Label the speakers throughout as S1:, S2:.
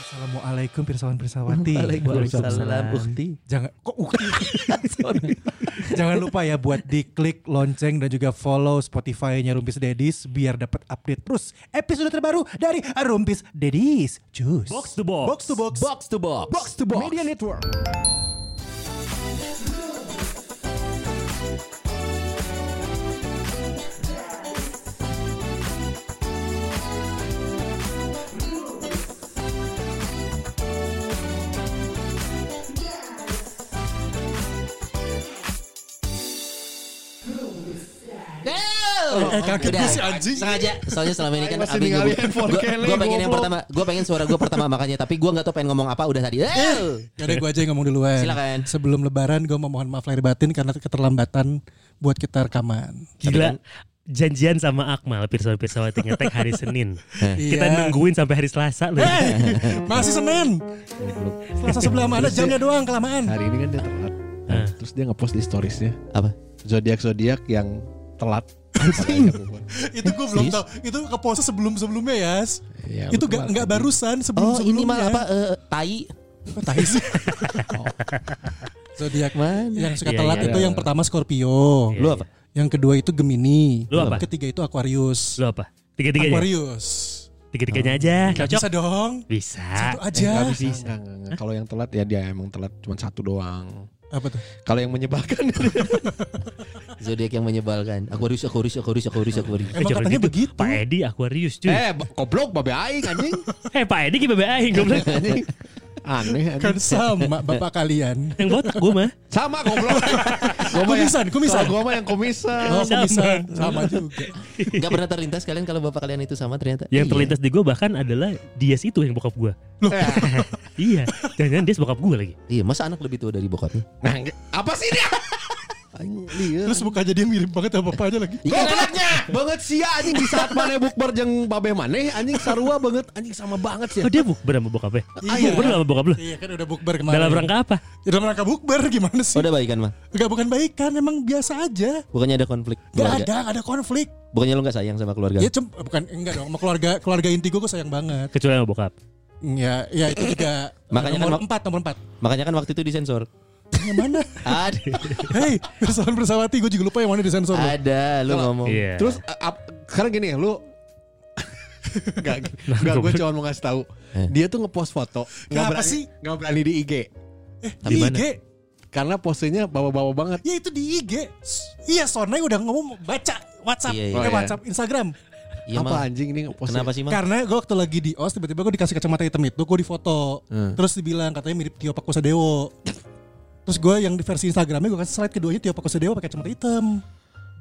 S1: Assalamualaikum pirsawan pirsawati.
S2: Waalaikumsalam Ukti.
S1: Jangan kok ukti. Jangan lupa ya buat diklik lonceng dan juga follow Spotify-nya Rumpis Dedis biar dapat update terus episode terbaru dari Rumpis Dedis. Cus.
S3: Box to box.
S1: Box to box.
S2: Box to box.
S1: Box to box. Media Network.
S2: Eh,
S1: kaget
S2: udah.
S1: gua sih, anjing.
S2: Sengaja. Soalnya selama ini kan
S4: Masih
S2: Abi
S4: ningali
S2: gue
S4: handphone Kelly,
S2: gue pengen yang
S4: goblok.
S2: pertama, gue pengen suara gue pertama makanya tapi gue nggak tahu pengen ngomong apa udah tadi. Eh.
S1: Yaudah gue Ya aja yang ngomong duluan.
S2: Silakan.
S1: Sebelum lebaran gue mau mohon maaf lahir batin karena keterlambatan buat kita rekaman.
S3: Gila. Janjian sama Akmal Pirsawan Pirsawati ngetek hari Senin. Kita
S1: Iya.
S3: nungguin sampai hari Selasa loh.
S1: Hey, masih Senin. Selasa sebelah mana jamnya doang kelamaan.
S4: Hari ini kan dia telat. Nah, Terus dia ngepost di storiesnya
S2: Apa?
S4: zodiak zodiak yang telat.
S1: itu gue belum tahu. Itu ke pose sebelum sebelumnya ya.
S4: Iya,
S1: itu
S4: betul
S1: gak
S4: lah.
S1: nggak barusan
S2: Oh
S1: sebelum
S2: ini
S1: sebelumnya.
S2: mah apa? eh, tai.
S1: Zodiak
S2: Mana?
S1: yang suka
S3: Iya,
S1: telat
S3: iya,
S1: itu
S4: iya.
S1: yang pertama Scorpio.
S3: Lu apa?
S1: Yang kedua itu Gemini.
S3: Lu apa?
S1: Ketiga itu Aquarius.
S3: Lu apa? Tiga-tiganya?
S1: Aquarius.
S3: Tiga-tiganya aja.
S1: Gak
S3: Cocok. Ah,
S1: bisa dong.
S3: Bisa.
S1: Satu
S4: Eh, nggak
S1: aja.
S4: bisa. nggak, nggak, nggak. Kalau yang telat ya dia emang telat cuma satu doang.
S1: apa tuh?
S4: Kalau yang menyebalkan
S2: Zodiak yang menyebalkan. Aquarius, Aquarius, Aquarius, Aquarius, Aquarius.
S1: Emang
S3: Jangan
S1: katanya
S3: gitu.
S1: begitu.
S3: Pak Edi Aquarius cuy. Eh,
S4: eh b- goblok babe aing anjing.
S3: Pak Edi gimana aing goblok.
S4: Anjing. Aneh
S1: Kan
S4: anjing.
S1: sama bapak kalian.
S3: Yang botak gue mah.
S4: Sama goblok. Gua mah
S1: Kumisan,
S4: yang-
S1: kumisan.
S4: Kalau gua mah yang kumisan.
S1: Oh,
S3: Sama.
S1: bisa. Sama juga.
S2: Gak pernah terlintas kalian kalau bapak kalian itu sama ternyata.
S3: Yang
S2: Iya.
S3: terlintas di gue bahkan adalah Dias itu yang bokap gue.
S4: Eh,
S3: iya. Jangan-jangan Dias bokap gue lagi.
S2: Iya, masa anak lebih tua dari bokapnya?
S4: Nah, nggak- apa sih dia? Anjing, dia.
S1: Terus mukanya dia mirip banget sama bapaknya lagi.
S4: Gobloknya banget sia anjing di saat mana bukber jeung babe maneh anjing sarua banget anjing sama banget sih.
S3: Oh dia bukber sama bokapnya?
S1: Iya.
S3: Bukber sama bokap lu?
S1: Iya kan udah bukber kemarin.
S3: Dalam rangka apa?
S1: Ya, dalam rangka bukber gimana sih?
S2: Oh, udah baikan mah.
S1: Enggak bukan baikan, emang biasa aja.
S2: Bukannya ada konflik
S1: Gak
S2: keluarga?
S1: ada, gak ada konflik.
S2: Bukannya lu gak sayang sama keluarga?
S1: Ya cem, bukan enggak dong, sama keluarga keluarga inti gue gue sayang banget.
S3: Kecuali sama bokap.
S1: Ya, ya itu juga
S2: Makanya kan
S1: nomor
S2: mak-
S1: empat, nomor empat.
S2: Makanya kan waktu itu disensor.
S1: Yang mana?
S2: Ada,
S1: Hei, persoalan bersawati gue juga lupa yang mana disensor. loh.
S2: ada lu
S1: Oh.
S2: ngomong.
S3: Iya.
S4: Terus a- ap- sekarang gini lu Gak, gak gue cuma mau ngasih tahu
S2: Eh.
S4: Dia tuh ngepost foto Gak
S1: Kenapa
S4: berani,
S1: sih?
S4: Gak berani di IG
S1: Eh,
S3: Tapi
S1: di
S3: mana?
S1: IG.
S4: Karena posenya bawa-bawa banget
S1: Ya itu di IG. S- Iya, Sonai udah ngomong baca WhatsApp,
S2: Iya, iya.
S1: Eh,
S4: Oh, iya.
S1: WhatsApp, Instagram.
S2: Iya,
S4: Apa
S2: Mang.
S4: anjing ini ngeposnya
S2: Kenapa sih, Mang?
S1: Karena gue waktu lagi di OS tiba-tiba gue dikasih kacamata hitam itu, gue difoto.
S4: Hmm.
S1: Terus dibilang katanya mirip Tio Pakusadewo. Terus gue yang di versi Instagramnya gue kasih slide keduanya Tio Pakusadewo pakai kacamata hitam.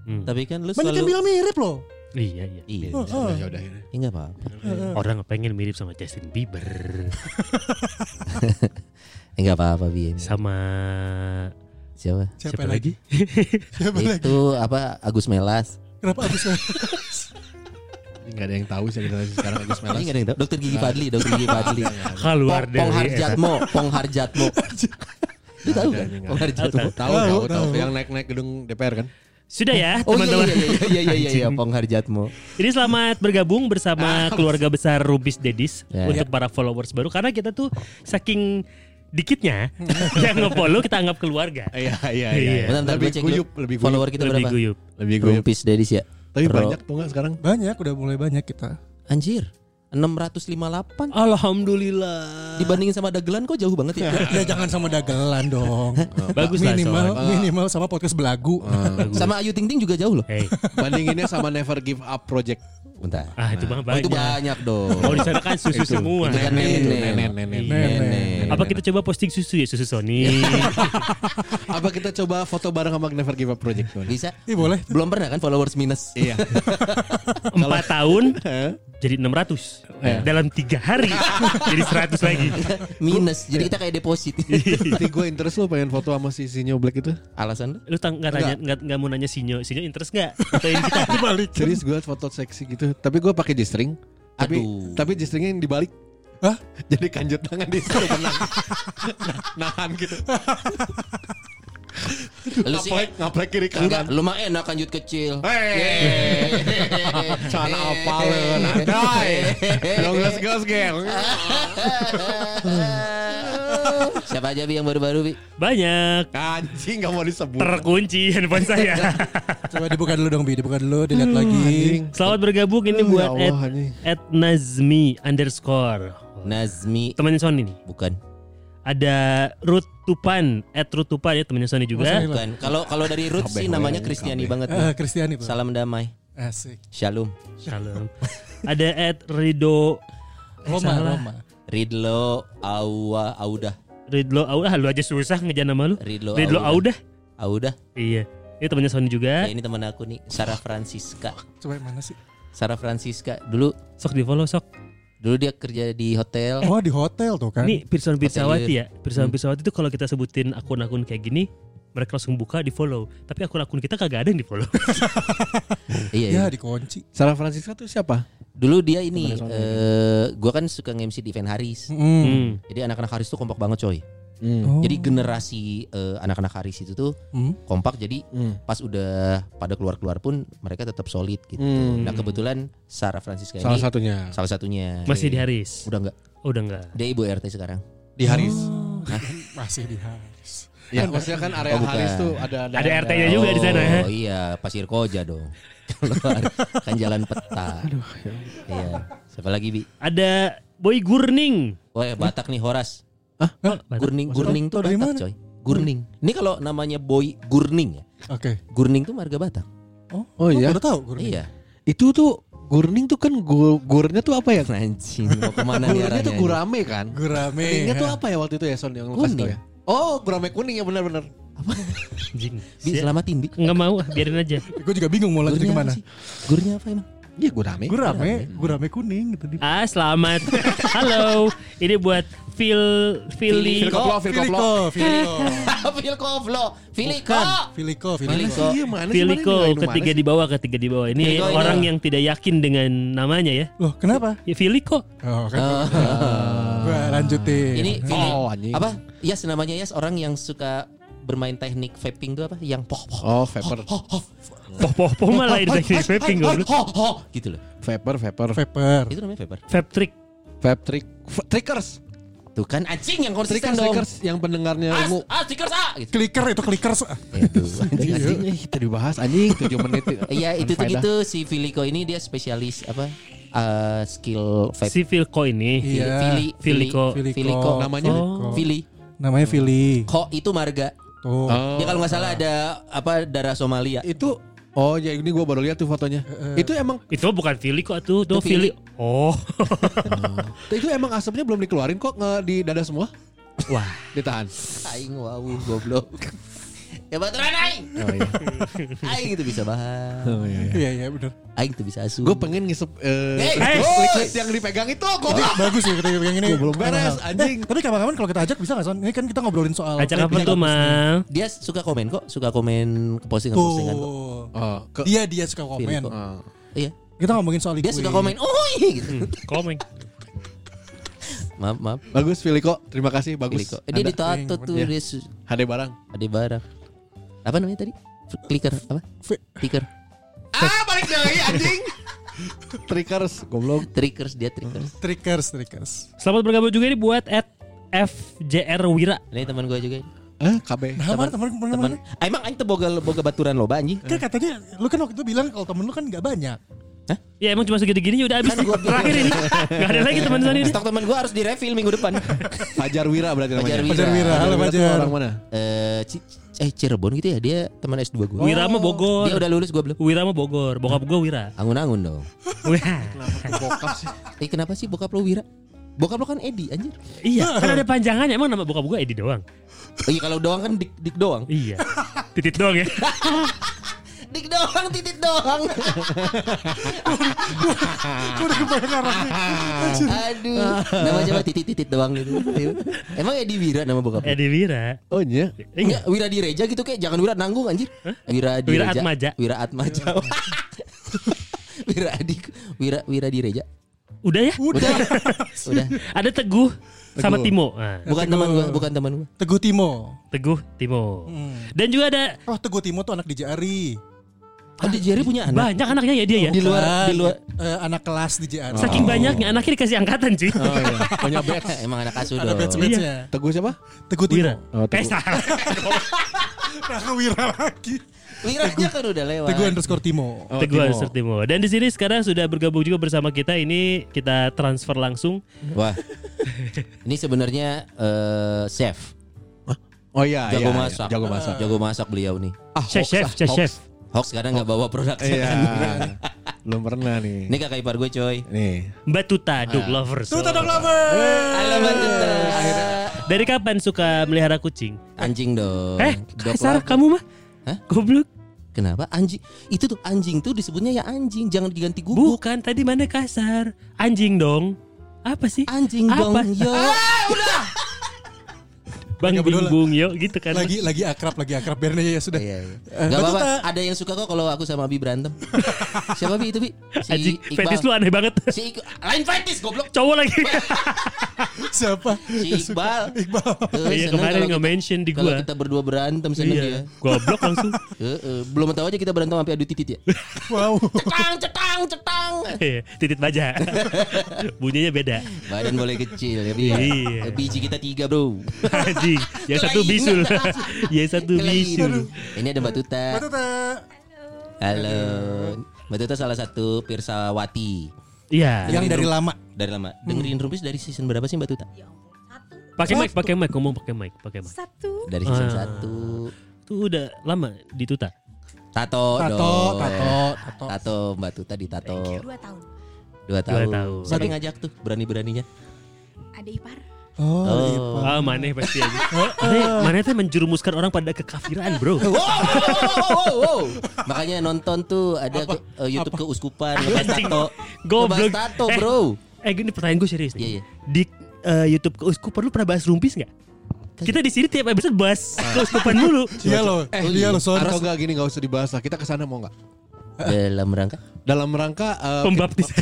S3: Hmm.
S2: Tapi kan lu
S1: Banyak yang
S2: selalu
S1: bilang mirip loh.
S3: Iya iya.
S2: Iya.
S1: Oh, oh.
S4: Ya udah ini.
S2: Ya enggak apa-apa.
S3: Orang pengen mirip sama Justin Bieber,
S2: Ya enggak apa-apa, Bien.
S3: sama
S2: Siapa?
S1: Siapa, lagi? Siapa lagi?
S2: Itu apa Agus Melas.
S1: Kenapa abis
S4: Ini Gak ada yang tahu sih kita sekarang Agus Melas
S2: Ini enggak ada yang tahu. Dokter Gigi Fadli, Dokter Gigi Fadli.
S3: keluar
S2: Pong,
S3: dari
S2: Pong Harjatmo, Pong Harjatmo. Lu tahu kan? Pong
S4: Nggak ada, nggak ada.
S2: Harjatmo.
S4: Tahu
S1: Tahu,
S4: tahu tahu
S1: tahu.
S4: Yang naik-naik gedung DPR kan
S3: Sudah ya
S2: Oh iya
S3: teman-teman. Iya.
S2: iya iya iya iya iya, iya Pong Harjatmo.
S3: Ini selamat bergabung
S2: Ah,
S3: bersama keluarga besar Rubis Dedis
S2: Ya.
S3: untuk para followers baru karena kita tuh saking dikitnya yang nge-follow kita anggap keluarga.
S4: Iya iya
S3: Iya.
S4: iya
S2: Bentar, bentar,
S4: Lebih
S2: gua cek dulu.
S4: guyup Lebih guyup
S2: Follower kita
S3: Lebih
S2: berapa?
S3: guyup.
S4: Lebih guyup
S2: Rumpis Dedis ya.
S4: Tapi
S2: Pro-
S4: banyak tuh gak sekarang
S1: Banyak, udah mulai banyak kita.
S2: Anjir.
S3: Ah.
S2: 658
S3: Alhamdulillah.
S2: dibandingin sama dagelan kok jauh banget ya.
S1: ya jangan sama dagelan dong.
S3: Bagus lah,
S1: minimal
S3: Son.
S1: minimal sama podcast belagu.
S2: Oh. sama Ayu Ting Ting juga jauh loh.
S3: Hey.
S4: Bandinginnya sama Never Give Up Project
S2: Bentar.
S3: Ah itu mah
S2: Oh, itu
S3: banyak.
S2: banyak dong.
S3: Oh di sana kan susu
S4: Itu.
S3: semua.
S2: Itu kan nenek.
S4: Itu, nenek, nenek,
S3: Iya.
S4: nenek.
S2: Nenek.
S3: Apa kita coba posting susu ya susu Sony?
S4: Apa kita coba foto bareng sama Never Give Up Project? Tuan?
S2: bisa?
S1: Ih boleh.
S2: Belum pernah kan followers minus.
S4: Iya.
S3: Empat tahun jadi 600
S2: Ya.
S4: Iya.
S3: dalam tiga hari jadi 100 lagi.
S2: minus. Jadi kita kayak deposit.
S4: Tapi gue interest lo pengen foto sama si Sinyo Black itu.
S2: Alasan lu?
S3: Lu tang nggak tanya nggak nggak mau nanya Sinyo, Sinyo interest nggak? Fotoin kita balik.
S4: Serius gue foto seksi gitu. Tapi gue pakai G-string. Tapi
S2: Aduh.
S4: tapi G-stringnya yang dibalik.
S1: Hah?
S4: Jadi kanjut tangan di situ menang. Nahan gitu.
S2: Lu sih
S4: Ngaplek, ngaplek kiri
S2: enggak,
S4: kanan.
S2: lu mah enak lanjut kecil.
S4: Hei, can apa Eh. lu? Nadai, dong gas gas geng.
S2: Siapa aja Bi yang baru-baru Bi?
S3: Banyak
S4: Anjing nggak mau disebut.
S3: terkunci handphone saya.
S1: Coba dibuka dulu dong Bi, dibuka dulu, dilihat lagi.
S3: Selamat bergabung ini
S4: Aduh,
S3: buat
S4: ya
S3: at,
S4: Allah, anjing.
S3: at Nazmi underscore
S2: Nazmi
S3: temannya Sony nih.
S2: bukan.
S3: Ada Ruth Tupan at Ruth Tupan ya temannya Sony juga.
S2: Bukan. Kalau kalau dari Ruth sih namanya Kristiani banget.
S1: Eh,
S2: nih.
S1: Kristiani Bro.
S2: Salam damai.
S1: Asik.
S2: Shalom.
S3: Shalom. Ada at Rido eh,
S1: Roma,
S3: salah.
S1: Roma.
S2: Ridlo Awa Audah.
S3: Ridlo Audah lu aja susah ngejar nama lu.
S2: Ridlo
S3: Ridlo
S2: Audah.
S3: Audah.
S2: Audah.
S3: Iya. Ini temannya Sony
S2: Ya,
S3: juga.
S2: ini teman aku nih, Sarah Francisca.
S1: Coba yang mana sih?
S2: Sarah Francisca dulu
S3: Sok di follow sok.
S2: dulu dia kerja di hotel.
S1: Oh di hotel tuh kan.
S3: Ini Pirsawan Pirsawati
S2: Hotelier.
S3: ya. Pirsawan Pirsawati itu kalau kita sebutin akun-akun kayak gini mereka langsung buka di follow. Tapi akun-akun kita kagak ada yang di follow.
S2: Iya. iya.
S1: Ya dikunci.
S4: Sarah Francisca tuh siapa?
S2: Dulu dia ini eh gua kan suka nge-MC di event Haris.
S1: Hmm.
S3: Hmm.
S2: Jadi anak-anak Haris tuh kompak banget coy.
S4: Hmm.
S1: Oh.
S2: Jadi generasi eh, anak-anak Haris itu tuh
S1: Hmm.
S2: kompak jadi
S4: Hmm.
S2: pas udah pada keluar-keluar pun mereka tetap solid gitu.
S4: Hmm.
S2: Nah, kebetulan Sarah Francisca
S4: Salah
S2: ini
S4: satunya
S2: salah satunya. Iya.
S3: Masih di Haris.
S2: Udah enggak?
S3: Oh, udah enggak.
S2: Dia ibu RT sekarang.
S4: di Haris.
S1: Oh. Masih di Haris.
S4: Ya, maksudnya Oh. kan area
S2: Oh, bukan.
S4: Haris tuh ada
S3: Ada RT-nya juga di sana. ya?
S2: Oh iya, Pasir Koja dong. kan jalan peta. Aduh.
S3: ya
S2: Iya. Siapa lagi, Bi?
S3: Ada Boy Gurning.
S2: Wah, Batak nih Horas. Oh,
S3: Batak.
S2: Gurning, Gurning tuh
S1: Tau dari
S2: Batak,
S1: mana?
S2: coy. Gurning. Ini kalau namanya Boy Gurning ya.
S1: Oke.
S2: Gurning tuh marga Batak.
S4: Oh iya.
S1: Udah tahu Gurni?
S2: Iya.
S4: Itu tuh Gurning tuh kan gur, gurnya tuh apa ya?
S2: Anjing, mau kemana nih
S4: Gurnya
S2: arahnya?
S4: tuh gurame kan?
S1: Gurame.
S4: Kuningnya tuh apa ya waktu itu ya Son yang lu kasih tau
S2: Kuning.
S4: ya? Oh, gurame kuning ya benar-benar.
S3: Anjing.
S2: Bi, selamatin, Bi.
S3: Enggak mau, ah, biarin aja.
S1: Gue juga bingung mau lanjut
S2: Gurnya apa
S1: kemana.
S2: sih? Gurnya apa emang?
S4: Iya gurame.
S1: Gurame, gurame kuning gitu. di-
S3: Ah, selamat. Halo. Ini buat Phil Philly.
S4: Phil Koplo, Phil Koplo.
S1: Filiko,
S2: Filkovlo, Filiko.
S1: Bukan, Filiko,
S2: Filiko.
S1: Filiko.
S4: Sih, iya, mana sih, mana
S3: Filiko
S4: yang lain,
S3: ketiga
S4: mana
S3: di bawah, ketiga di bawah. Ini
S2: Filiko ini
S3: orang
S2: lah.
S3: yang tidak yakin dengan namanya ya.
S1: Loh, kenapa?
S3: Ya Filiko.
S1: Oh, kan. Gue lanjutin.
S2: Ini Fili-
S4: Oh, anjing.
S2: apa? Yas namanya Yas orang yang suka bermain teknik vaping tuh apa? Yang poh poh.
S4: sih? Oh, vapor.
S3: Poh poh poh malah ini teknik vaping goblok.
S2: Ho, ho, gitu loh.
S4: Vapor, vapor.
S1: Vapor.
S2: Itu namanya vapor.
S3: Vape trick.
S4: Vape trick. F- Trickers.
S2: Tuh kan anjing yang konsisten
S4: Trickers,
S2: dong.
S4: trickers yang pendengarnya
S2: As,
S4: ungu.
S2: as, stickers ah gitu.
S1: Clicker itu clicker.
S2: Ya, tuh, anjing, anjing.
S4: Anjing, eh, kita dibahas anjing 7 menit.
S2: Iya itu tuh
S4: Faedah.
S2: gitu si Filiko ini dia spesialis apa eh, skill vape.
S3: Si Filko ini.
S1: Iya.
S2: Fili,
S3: Filiko.
S2: Filiko.
S1: Filiko.
S4: Namanya?
S1: Filiko.
S3: Oh.
S2: Fili.
S1: Namanya Fili.
S2: Ko itu marga.
S1: Tuh.
S4: Oh.
S2: Ya kalau nggak salah ada apa darah Somalia.
S4: Itu Oh ya ini gua baru lihat tuh fotonya. Itu emang
S3: Itu bukan Filiko tuh,
S2: Itu
S3: itu
S2: Fili.
S3: Fili. Oh.
S4: itu emang asapnya belum dikeluarin kok nge- di dada semua.
S3: Wah.
S4: Ditahan.
S2: Aing wow goblok. ya baturan aing.
S4: Oh iya.
S2: Aing itu bisa bahas.
S4: Oh, iya, iya.
S1: Iya, iya bener.
S2: Aing itu bisa asuh.
S4: Gue pengen ngisep eh,
S2: Hey,
S4: list-
S2: hey.
S4: list yang dipegang itu gue
S1: Bagus ya ketika yang ini.
S4: Gua belum beres,
S1: Eh,
S4: anjing.
S1: tapi kapan-kapan kalau kita ajak bisa nggak Son? Ini kan kita ngobrolin soal
S3: Acara apa
S1: vaping.
S3: tuh, Mal?
S2: dia suka komen kok, suka komen ke postingan postingan kok.
S1: Tuh.
S4: Oh, ke,
S1: Dia dia suka komen.
S2: Filiko. Iya.
S1: Kita ngomongin soal
S2: Dia
S1: liquid.
S2: suka komen, "Oi." gitu.
S3: Komeng.
S2: maaf, maaf.
S4: bagus Filiko, terima kasih bagus.
S2: Filiko. Eh, Dia
S4: Anda
S2: ditato tuh
S4: Iya.
S2: dia su-
S4: Hade barang.
S2: ada barang. Apa namanya tadi? F- Clicker apa?
S1: Fi-
S2: Clicker.
S4: Ah, balik lagi anjing. Trickers, goblok.
S2: Trickers dia trickers.
S1: Trickers, trickers.
S3: Selamat bergabung juga ini buat at FJR Wira.
S2: Ini teman gue juga.
S4: Eh, KB.
S1: Nah, mana teman teman
S2: Teman. Ah, Emang aing teu boga boga baturan loba anjing.
S1: Kan katanya lu kan waktu itu bilang kalau temen lu kan nggak banyak.
S3: Ya emang cuma segini-gininya udah habis
S2: Kan gua-
S3: terakhir ini. Gak ada lagi teman Sony ini.
S2: Stok teman gue harus direfill minggu depan.
S4: Fajar Wira berarti namanya.
S2: Fajar Wira.
S1: Fajar Wira, halo
S4: tuh
S1: Fajar.
S4: Orang mana?
S2: Eh, Ci- eh Cirebon gitu ya dia teman S2 gue.
S3: Wira
S2: Oh.
S3: mah
S2: Dia
S3: Bogor.
S2: udah lulus gue belum.
S3: Wira mah Bogor. Bokap gue Wira.
S2: Angun-angun dong.
S3: Wah.
S4: Bokap sih.
S2: Eh kenapa sih bokap lo Wira? Bokap lo kan Edi anjir.
S3: Iya, kan ada panjangannya. Emang nama bokap gue Edi doang.
S2: Oh, iya kalau doang kan dik dik doang.
S3: Iya. Titit doang ya.
S2: Dik doang titit doang.
S1: Gue udah kebayang arahnya.
S2: Aduh. Nama coba titit titit doang gitu. Emang Edi Wira nama bokap. lo?
S3: Edi Wira.
S4: Oh iya.
S2: Enggak, Wira Direja gitu kayak jangan Wira nanggung anjir. Wira Direja.
S3: Atmaja.
S2: Wira Atmaja. Wira Adik Wira Wira Direja.
S3: Udah ya?
S1: Udah.
S2: Udah.
S3: Ada Teguh, sama
S4: Teguh.
S3: Timo. Nah,
S2: Bukan
S1: Teguh.
S2: teman gua, bukan teman gua.
S1: Teguh Timo.
S3: Teguh, Timo. Dan juga ada
S1: Oh Teguh Timo tuh anak di Jari.
S2: Oh, di Jerry punya anak.
S3: banyak anaknya ya dia ya.
S2: Di luar
S1: Bukan,
S2: di luar.
S1: eh, anak kelas di JRI.
S3: Saking banyaknya anaknya dikasih angkatan cuy.
S4: Oh, iya. Punya batch.
S2: Emang ada kasus
S1: Ada
S2: dong.
S1: batch-batchnya.
S4: Teguh siapa?
S1: Iya. Teguh Timo.
S3: Wira.
S4: Oh,
S3: eh
S4: Teguh.
S3: salah.
S1: Nah, Wira lagi.
S2: Wiranya kan udah lewat.
S1: Teguh underscore Timo.
S4: Oh,
S3: Teguh
S4: Timo.
S3: Ansur Timo. Dan di sini sekarang sudah bergabung juga bersama kita ini kita transfer langsung.
S2: Wah. Ini sebenarnya eh, chef.
S4: Oh iya,
S2: Jago
S4: iya, iya.
S2: masak.
S4: Jago masak.
S2: Jago masak beliau nih.
S4: Ah,
S3: Chef,
S4: hoax
S3: chef,
S4: lah,
S3: chef,
S4: hoax.
S3: chef.
S2: Hoax kadang nggak bawa produknya.
S4: Iya. Belum pernah nih.
S2: Ini kakak ipar gue coy.
S4: Nih.
S3: Mbak Tuta
S2: Ah.
S3: Dog Lovers.
S1: Tuh Tadok Lover.
S2: Halo Mbak Tuta.
S3: Dari kapan suka melihara kucing?
S2: Anjing dong.
S3: eh,
S2: Dog
S3: kasar
S2: lover.
S3: kamu mah?
S2: Hah?
S3: Goblok.
S2: Kenapa anjing? Itu tuh anjing tuh disebutnya ya anjing, jangan diganti gubuk.
S3: Bukan tadi mana kasar? Anjing dong. Apa sih?
S2: Anjing
S3: Apa?
S2: dong, yo.
S3: Bang
S1: Nggak peduli.
S3: bingung yo gitu kan.
S1: Lagi lagi akrab, lagi akrab. Biarin aja ya sudah.
S2: Iya, iya.
S1: Eh,
S2: Gak
S1: Mbak
S2: apa-apa,
S1: Tuta.
S2: ada yang suka kok kalau aku sama Abi berantem. Siapa Bi itu Bi?
S3: Anjing, fetish lu aneh banget.
S2: Si Iqbal. Lain fetis goblok.
S3: Cowok lagi.
S1: Siapa?
S2: Si
S1: Yang suka?
S2: Iqbal.
S1: Iqbal.
S2: Eh,
S3: Iya,
S2: seneng
S3: kemarin
S2: kalau kita-
S3: nge-mention di
S2: Kalau
S3: gua.
S2: kita berdua berantem seneng dia.
S3: Iya. Goblok langsung.
S2: Eh, eh, belum tahu aja kita berantem sampai adu titit ya.
S1: Wow.
S2: Cetang, cetang, cetang.
S3: Iya, Titit baja. Bunyinya beda.
S2: Badan boleh kecil ya Bi.
S3: Iya.
S2: Biji kita tiga bro.
S3: Anjing. Yang satu bisul. Yang satu bisul.
S2: Kelain. Ini ada Mbak Tuta.
S1: Mbak Tuta.
S2: Halo. Mbak Tuta salah satu pirsawati.
S3: Iya.
S1: Yang dari lama.
S2: Dari lama. Dengerin Rumpis dari season berapa sih Mbak Tuta?
S3: Pakai mic, pakai mic, ngomong pakai mic, pakai mic.
S5: Satu.
S2: Dari season
S3: Ah.
S2: 1.
S3: Tuh udah lama di Tuta.
S2: Tato,
S1: Tato,
S2: dong. Iya.
S1: tato, tato.
S2: Tato Mbak Tuta di tato
S5: Dua tahun.
S2: dua tahun.
S3: tahun.
S2: Siapa yang ngajak tuh berani-beraninya?
S5: Ada ipar.
S2: Oh.
S1: Oh,
S3: Ah, maneh pasti aja. Maneh, maneh teh menjerumuskan orang pada kekafiran, Bro.
S2: Wow, wow, wow, wow, wow. Makanya nonton tuh ada ke, eh, YouTube keuskupan lepas
S3: Anjing.
S2: tato.
S3: Goblok.
S2: Lepas tato,
S3: Eh.
S2: Bro.
S3: Eh, ini pertanyaan gue serius nih.
S2: Iya, iya.
S3: Di eh, YouTube keuskupan lu pernah bahas rumpis nggak? Kita di sini tiap episode bahas keuskupan mulu.
S1: Dia loh,
S4: Eh,
S1: dia loh soal
S4: Atau enggak gini enggak usah dibahas lah. Kita ke sana mau enggak?
S2: Dalam rangka
S4: Dalam rangka eh,
S3: Pembaptisan.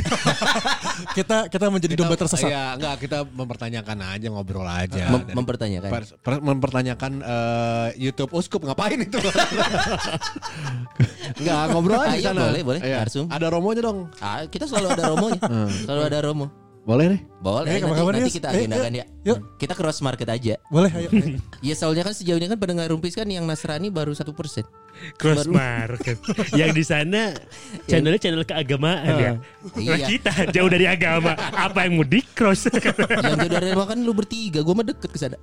S1: kita kita menjadi domba tersesat.
S4: Iya, enggak kita mempertanyakan aja ngobrol aja.
S2: mem-
S4: Dan-
S2: mempertanyakan.
S4: per- per- mempertanyakan eh, YouTube uskup ngapain itu? Enggak ngobrol aja di
S2: Ayo,
S4: sana.
S2: boleh, boleh.
S4: Iya.
S2: Narsum.
S4: Ada romonya dong.
S2: Ah, kita selalu ada romonya. selalu ada romo.
S4: Boleh deh.
S2: Boleh
S1: Eh,
S2: nanti,
S1: kapan-kapan,
S2: nanti
S1: Yus?
S2: kita
S1: Eh,
S2: agendakan
S1: yuk,
S2: ya.
S1: yuk.
S2: Kita cross market aja.
S1: Boleh ayo. ayo.
S2: Ya soalnya kan sejauh ini kan pendengar rumpis kan yang Nasrani baru satu persen.
S3: Cross
S2: Baru-
S3: market. Yang di sana channelnya channel keagamaan ya.
S2: Iya.
S3: Nah, kita jauh dari agama. Apa yang mau di cross?
S2: Yang jauh dari rumah kan lu bertiga, gua mah deket ke sana.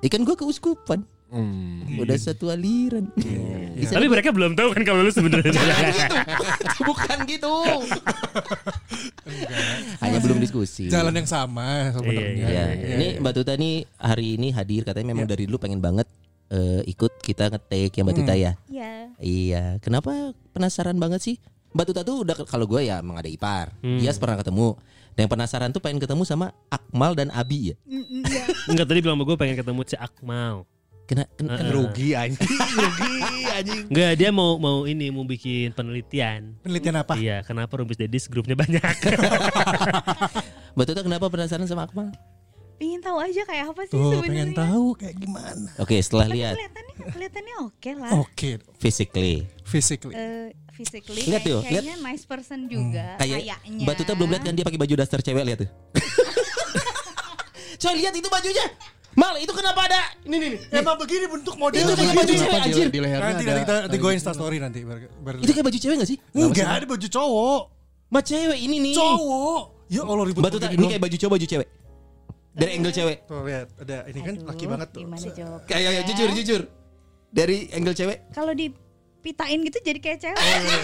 S2: Ikan gua keuskupan.
S4: Hmm.
S3: Iya.
S2: Udah satu aliran. Di sana
S3: Tapi mereka belum tahu kan kalau lu sebenarnya.
S2: Bukan gitu. Hanya belum diskusi.
S1: Jalan yang sama
S3: Iya, Iya.
S1: sebenarnya.
S2: Ya, ini Mbak Tuta nih hari ini hadir katanya memang dari dulu pengen banget eh, ikut kita ngetek ya Mbak Tuta
S3: Hmm.
S2: ya.
S5: Iya.
S2: Iya, kenapa penasaran banget sih? Mbak Tuta tuh udah kalau gue ya emang ada ipar. Iya pernah ketemu. Dan yang penasaran tuh pengen ketemu sama Akmal dan Abi ya.
S5: Iya.
S3: Enggak tadi bilang sama gue pengen ketemu si Akmal.
S2: Kena, kena, kena-
S4: Rugi anjing, rugi anjing.
S3: Enggak, dia mau mau ini mau bikin penelitian.
S1: Penelitian apa?
S3: Iya, kenapa Rumpis Dedis grupnya banyak?
S2: Mbak Tuta kenapa penasaran sama Akmal?
S5: Pengen tahu aja kayak apa sih
S1: Tuh,
S5: sebenarnya.
S1: pengen tahu kayak gimana.
S2: Oke, setelah
S5: Tapi
S2: Oh, lihat Oh.
S5: kelihatannya kelihatannya oke lah.
S1: Oke,
S2: physically.
S1: physically.
S5: Eh, physically
S2: Lihat tuh,
S5: kayak- kayaknya nice person juga
S2: Kayak
S5: kayaknya.
S2: Mbak Tuta belum lihat kan dia pakai baju daster cewek lihat tuh. Coy lihat itu bajunya. Mal, itu kenapa ada? Ini nih. nih.
S1: Emang begini bentuk
S2: Itu
S1: modelnya
S2: kayak baju cewek anjir.
S4: Di
S1: Iya.
S4: lehernya
S1: Nanti
S4: ada.
S1: nanti kita nanti gue insta story nanti bar- bar-
S2: Itu kayak baju cewek gak sih?
S1: Enggak, ada baju cowok.
S2: Mbak cewek ini nih.
S1: Cowok. Ya Allah ribut.
S2: Mbak Tuta ini kayak baju cowok baju cewek. Dari angle cewek.
S1: Tuh lihat, ada ini kan laki banget tuh.
S5: Gimana jawab?
S2: Kayak ya, jujur jujur. Dari angle cewek.
S5: Kalau dipitain gitu jadi kayak cewek.
S2: Oh, iya.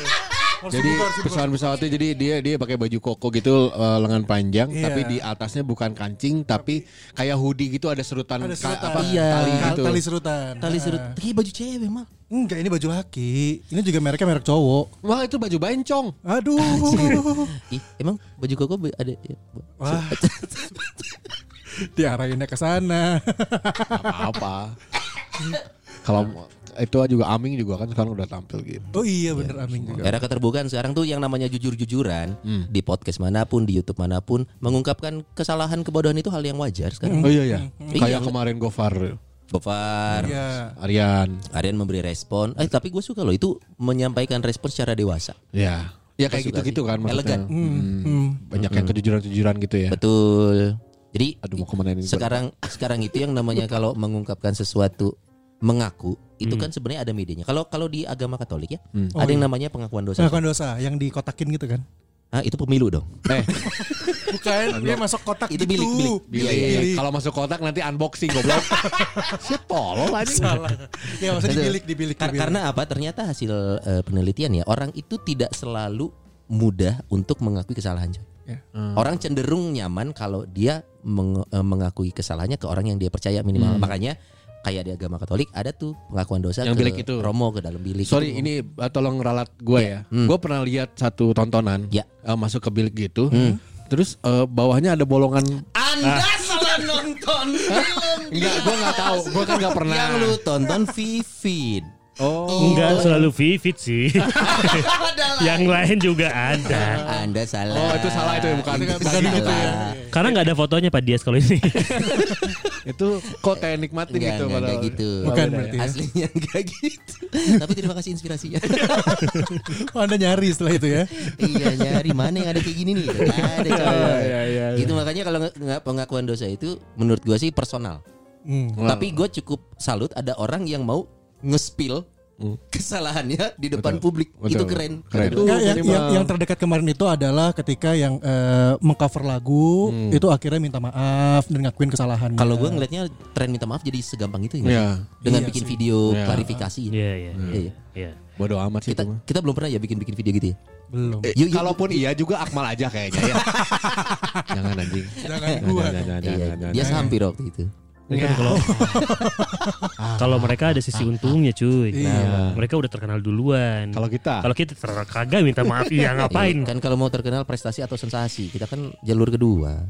S1: Harus
S4: Jadi
S1: dibuka, harus dibuka.
S4: pesawat-pesawatnya jadi dia dia pakai baju koko gitu eh, lengan panjang
S1: Iya.
S4: tapi di atasnya bukan kancing tapi kayak hoodie gitu ada serutan,
S1: Ada
S4: ka-
S1: serutan.
S4: apa
S2: Iya.
S4: tali
S1: Kal-
S4: gitu.
S1: Tali serutan.
S2: Tali serut.
S1: Ah.
S2: Kayak baju cewek mal.
S1: Enggak, ini baju laki. Ini juga mereknya merek cowok.
S4: Wah itu baju bencong.
S1: Aduh.
S2: Ih, emang baju koko be- ada ya, bu-
S1: Wah. Diarahinnya ke sana.
S4: Apa? Kalau itu juga Aming juga kan sekarang udah tampil gitu.
S1: Oh iya bener
S2: Ya,
S1: Aming.
S2: Era keterbukaan sekarang tuh yang namanya jujur-jujuran di podcast manapun, di YouTube manapun mengungkapkan kesalahan kebodohan itu hal yang wajar sekarang.
S4: Oh iya ya.
S2: Iya.
S4: Kayak kemarin Gofar,
S2: Gofar,
S1: Iya.
S4: Aryan.
S2: Aryan memberi respon. Eh tapi gue suka loh itu menyampaikan respon secara dewasa.
S4: Ya. Ya kayak
S2: Suka
S4: gitu-gitu
S2: sih.
S4: kan maksudnya.
S2: Elegan.
S4: Hmm. Banyak yang kejujuran-kejujuran gitu ya.
S2: Betul. Jadi
S4: Aduh mau kemana ini?
S2: sekarang sekarang itu yang namanya kalau mengungkapkan sesuatu mengaku itu
S4: Hmm.
S2: kan sebenarnya ada medianya. Kalau kalau di agama Katolik ya, ada yang namanya pengakuan dosa.
S1: Pengakuan dosa yang dikotakin gitu kan?
S2: Ah, itu pemilu dong.
S4: Eh,
S1: Bukan, dia masuk kotak
S2: Itu
S1: gitu. Iya,
S2: bilik, bilik.
S4: Billy. Kalau masuk kotak nanti unboxing goblok. Siapa tolol anjing.
S1: Salah. Ya maksudnya
S2: Betul.
S1: dibilik, dibilik,
S2: Kar- karena apa? Ternyata hasil eh, penelitian ya, orang itu tidak selalu mudah untuk mengakui kesalahan. coy.
S1: Ya.
S2: Orang cenderung nyaman kalau dia meng- eh, mengakui kesalahannya ke orang yang dia percaya minimal. Makanya kayak di agama Katolik ada tuh pengakuan dosa
S4: Yang
S2: ke
S4: bilik itu.
S2: Romo ke dalam bilik.
S4: Sorry,
S2: itu.
S4: ini uh, tolong ralat gue ya. Gue pernah lihat satu tontonan
S2: Ya.
S4: uh, masuk ke bilik gitu. Terus uh, bawahnya ada bolongan. Ah.
S2: Anda salah nonton film.
S4: Enggak, gue nggak tahu. Gue kan nggak pernah.
S2: Yang lu tonton Vivid.
S4: Oh,
S3: Enggak selalu vivid sih. yang lain juga ada.
S2: Ah, Anda salah.
S4: Oh, itu salah itu ya, bukan.
S1: Bukan
S2: Salah.
S1: gitu ya.
S3: Karena nggak ada fotonya Pak Dias kalau ini.
S4: itu kok kayak nikmatin
S2: Enggak, enggak,
S4: gitu.
S2: enggak
S4: padahal.
S2: gitu.
S1: Bukan
S4: beda ya.
S1: berarti ya.
S2: Aslinya enggak gitu. Tapi terima kasih inspirasinya.
S1: Oh, anda nyari setelah itu ya.
S2: iya nyari mana yang ada kayak gini nih. Nggak ada coy.
S4: iya, iya, iya.
S2: Itu makanya kalau nge- nge- pengakuan dosa itu menurut gua sih personal.
S1: Hmm.
S4: Wow.
S2: Tapi gua cukup salut ada orang yang mau nge-spill kesalahannya di depan
S4: Hmm. Betul.
S2: publik. Itu
S4: Betul.
S2: keren. Gitu.
S4: Keren.
S2: Itu
S4: Tuh,
S1: Nggak, yang,
S4: jadi
S1: yang,
S4: mah-
S1: yang terdekat kemarin itu adalah ketika yang eh, mengcover lagu itu akhirnya minta maaf dan ngakuin kesalahan.
S2: Hmm. Kalau gue ngelihatnya tren minta maaf jadi segampang itu ya.
S4: Iya.
S2: Dengan
S1: Iya
S2: bikin
S1: sih.
S2: video
S4: Iya.
S2: klarifikasi.
S3: Iya, iya.
S2: Iya, iya.
S3: Iya.
S4: Bodoh amat sih
S2: Kita
S4: itu mah.
S2: kita belum pernah ya bikin-bikin video gitu ya.
S1: belum.
S4: Eh,
S2: Yuk, yuk.
S4: Kalaupun iya juga Akmal aja kayaknya ya. jangan anjing.
S1: Jangan gua.
S4: jangan, jangan,
S2: Iya,
S4: jangan, jangan.
S2: dia hampir waktu itu.
S3: Ini kan kalau kalau mereka ada sisi untungnya cuy. Nah, mereka udah terkenal duluan.
S4: Kalau kita?
S3: kalau kita terkagak minta maaf ya
S2: Iya,
S3: ngapain?
S2: Kan kalau mau terkenal prestasi atau sensasi, kita kan jalur kedua.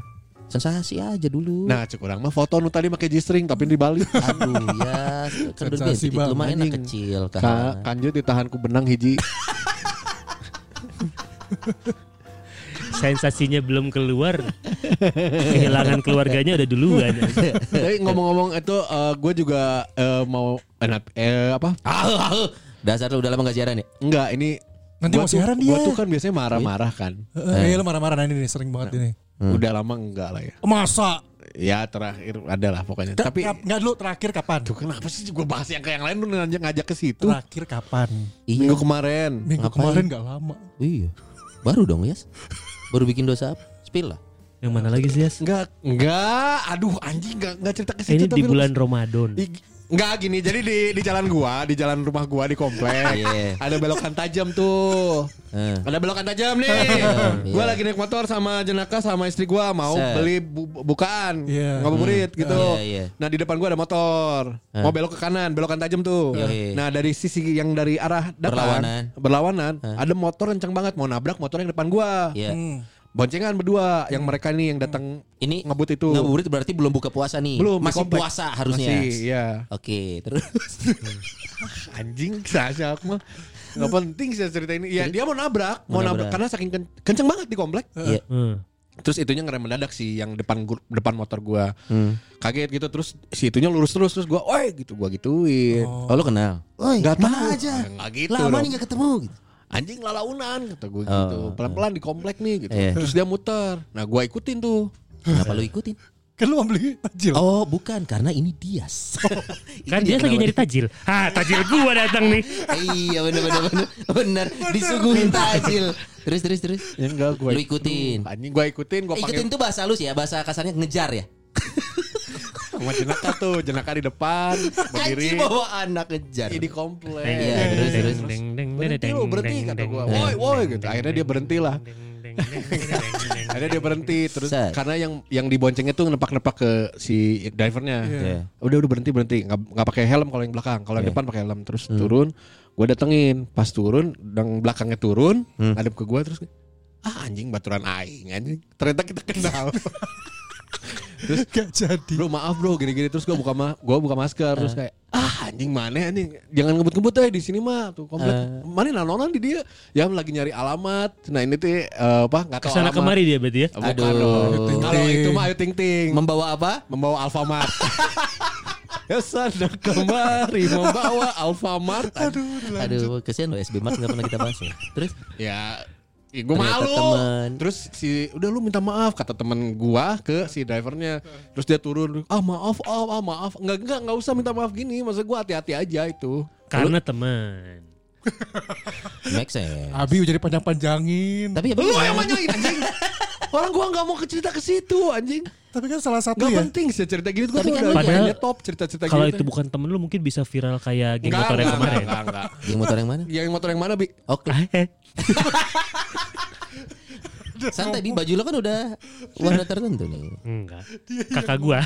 S2: Sensasi aja dulu.
S4: Nah, cukup orang mah foto nu tadi pakai G-string tapi dibalik.
S2: Aduh ya, kan dulu
S1: Sensasi
S2: dia
S1: banget,
S2: lumayan lah
S4: anjing.
S2: kecil
S4: Ka
S2: kan.
S4: kanjut ditahan ku benang hiji.
S3: Sensasinya belum keluar. Kehilangan keluarganya udah duluan.
S4: Tapi ngomong-ngomong itu gue juga eh, mau enak eh, apa?
S2: Dasar lu udah lama gak siaran ya?
S4: Enggak, ini
S1: Nanti mau
S4: gua tuh-
S1: siaran
S4: Gua
S1: dia.
S4: tuh kan biasanya marah-marah kan.
S1: Eh, lu marah-marah nah ini nih, sering banget ini.
S3: Hmm.
S4: Udah lama enggak lah ya.
S1: Masa?
S4: Ya terakhir adalah pokoknya.
S1: Tapi
S4: Tapi
S1: nggak dulu terakhir kapan?
S4: Duh, kenapa sih gue bahas yang ke yang lain lu ngajak ngajak ke situ?
S1: Terakhir kapan?
S2: Iya.
S4: Minggu kemarin.
S1: Minggu
S2: Ngapain?
S1: kemarin nggak lama.
S2: Iya. Baru dong, Yas. Baru bikin dosa apa? Spill lah.
S3: Yang mana lagi sih, Yas?
S4: Enggak, enggak. Aduh, anjing enggak enggak cerita ke situ
S3: Ini di
S4: lu-
S3: bulan Ramadan.
S4: I- Enggak gini, jadi di di jalan gua, di jalan rumah gua di komplek,
S2: Iya.
S4: ada belokan tajam tuh.
S2: Eh. Iya.
S4: Ada belokan tajam nih. Gua lagi naik motor sama jenaka sama istri gua mau
S2: Set.
S4: beli bu- bukaan,
S1: Iya.
S4: ngabuburit gitu.
S2: Iya, iya. Eh.
S4: Nah, di depan gua ada motor. Mau belok ke kanan, belokan tajam tuh.
S2: Yoi.
S4: Nah, dari sisi yang dari arah
S2: Iya, Berlawanan. Eh.
S4: depan berlawanan, ada motor kenceng banget mau nabrak motor yang depan gua.
S2: Iya.
S4: Boncengan berdua yang mereka nih yang datang
S2: Ini
S4: ngebut itu.
S2: Ngeburit berarti belum buka puasa nih.
S4: Belum, di
S2: masih
S4: komplek.
S2: puasa harusnya.
S4: Masih, iya.
S2: Oke, terus
S4: anjing Sasha aku mah nggak penting sih cerita ini ya dia mau nabrak mau
S2: nabrak.
S4: nabrak, karena saking ken- kenceng banget di komplek
S2: Iya.
S3: Hmm.
S4: terus itunya ngerem mendadak sih yang depan gu- depan motor gua
S2: Hmm.
S4: kaget gitu terus si itunya lurus terus terus gua oi gitu gua gituin
S2: Oh, lu kenal? Oi,
S4: Nggak
S2: mana
S4: tahu.
S2: aja.
S4: Nggak gitu
S2: Lama
S4: dong.
S2: nih gak ketemu gitu.
S4: anjing lalaunan kata gua gitu pelan pelan di komplek nih gitu
S2: Oh. Iya.
S4: terus dia muter nah gua ikutin tuh
S2: Kenapa lu ikutin?
S1: Kan lu mau beli tajil.
S2: Oh, bukan karena ini Dias. Itu
S3: Kan dia lagi
S2: kenapa.
S3: nyari tajil. Ah, tajil gua datang nih.
S2: iya benar benar benar benar disuguhin tajil. Terus terus terus.
S4: ya enggak gua
S2: Lu ikutin.
S4: anjing gua ikutin gua pakai
S2: Ikutin tuh bahasa halus ya, bahasa kasarnya ngejar ya.
S4: sama jenaka tuh jenaka di depan
S2: Anjing
S4: berdiri
S2: bawa anak ngejar.
S4: di komplek
S2: Iya, terus, terus.
S4: berhenti lu berhenti kata gua woi woi gitu akhirnya dia berhenti lah akhirnya dia berhenti terus
S2: Set.
S4: karena yang yang diboncengnya tuh nepak-nepak ke si drivernya
S3: Iya.
S4: udah udah berhenti berhenti nggak nggak pakai helm kalau yang belakang kalau yang depan pakai helm terus turun gue datengin pas turun yang belakangnya turun ngadep ke gue terus ah anjing baturan aing anjing ternyata kita kenal
S1: Gak jadi.
S4: bro maaf bro gini-gini terus gue buka ma gua buka masker terus kayak ah anjing anjing mana anjing jangan ngebut-ngebut eh di sini mah tuh komplek mana nanonan di dia ya lagi nyari alamat nah ini tuh eh, apa nggak tahu
S3: Kesana
S4: alamat.
S3: kemari dia berarti ya.
S4: Ah, bukan
S2: Aduh.
S4: dong.
S2: Ayu Ting
S4: kalau itu mah ayo ting ting
S2: Membawa apa?
S4: membawa Alfamart ya sana kemari membawa Alfamart aduh
S2: Aduh, kesian loh SB Mart nggak pernah kita bahas. ya. Terus
S4: ya Ya gue
S2: Ternyata
S4: malu
S2: temen.
S4: Terus si Udah lu minta maaf Kata temen gua Ke si drivernya Terus dia turun Ah maaf ah, ah maaf Enggak enggak enggak usah minta maaf gini Maksud gua hati-hati aja itu
S3: Karena teman.
S2: make sense.
S1: Abi jadi panjang-panjangin.
S2: ya. Tapi ya
S4: Lu yang
S2: bagaimana?
S4: manjain anjing Orang gua enggak mau ke cerita ke situ anjing
S1: Tapi kan salah satu
S4: Enggak
S1: ya.
S4: penting sih cerita gini Gua
S2: Tapi
S4: tuh
S2: kan
S4: udah
S3: lu-
S4: kayaknya top cerita-cerita gini
S3: Kalau itu bukan temen lu mungkin bisa viral kayak geng
S4: Enggak
S3: motor yang
S4: enggak
S3: kemarin. Eh?
S4: enggak enggak
S2: Yang motor yang mana? Oh,
S4: Yang motor yang mana Bi?
S2: Oke. Santai di baju lo kan udah warna tertentu nih.
S3: Enggak. Kakak gua.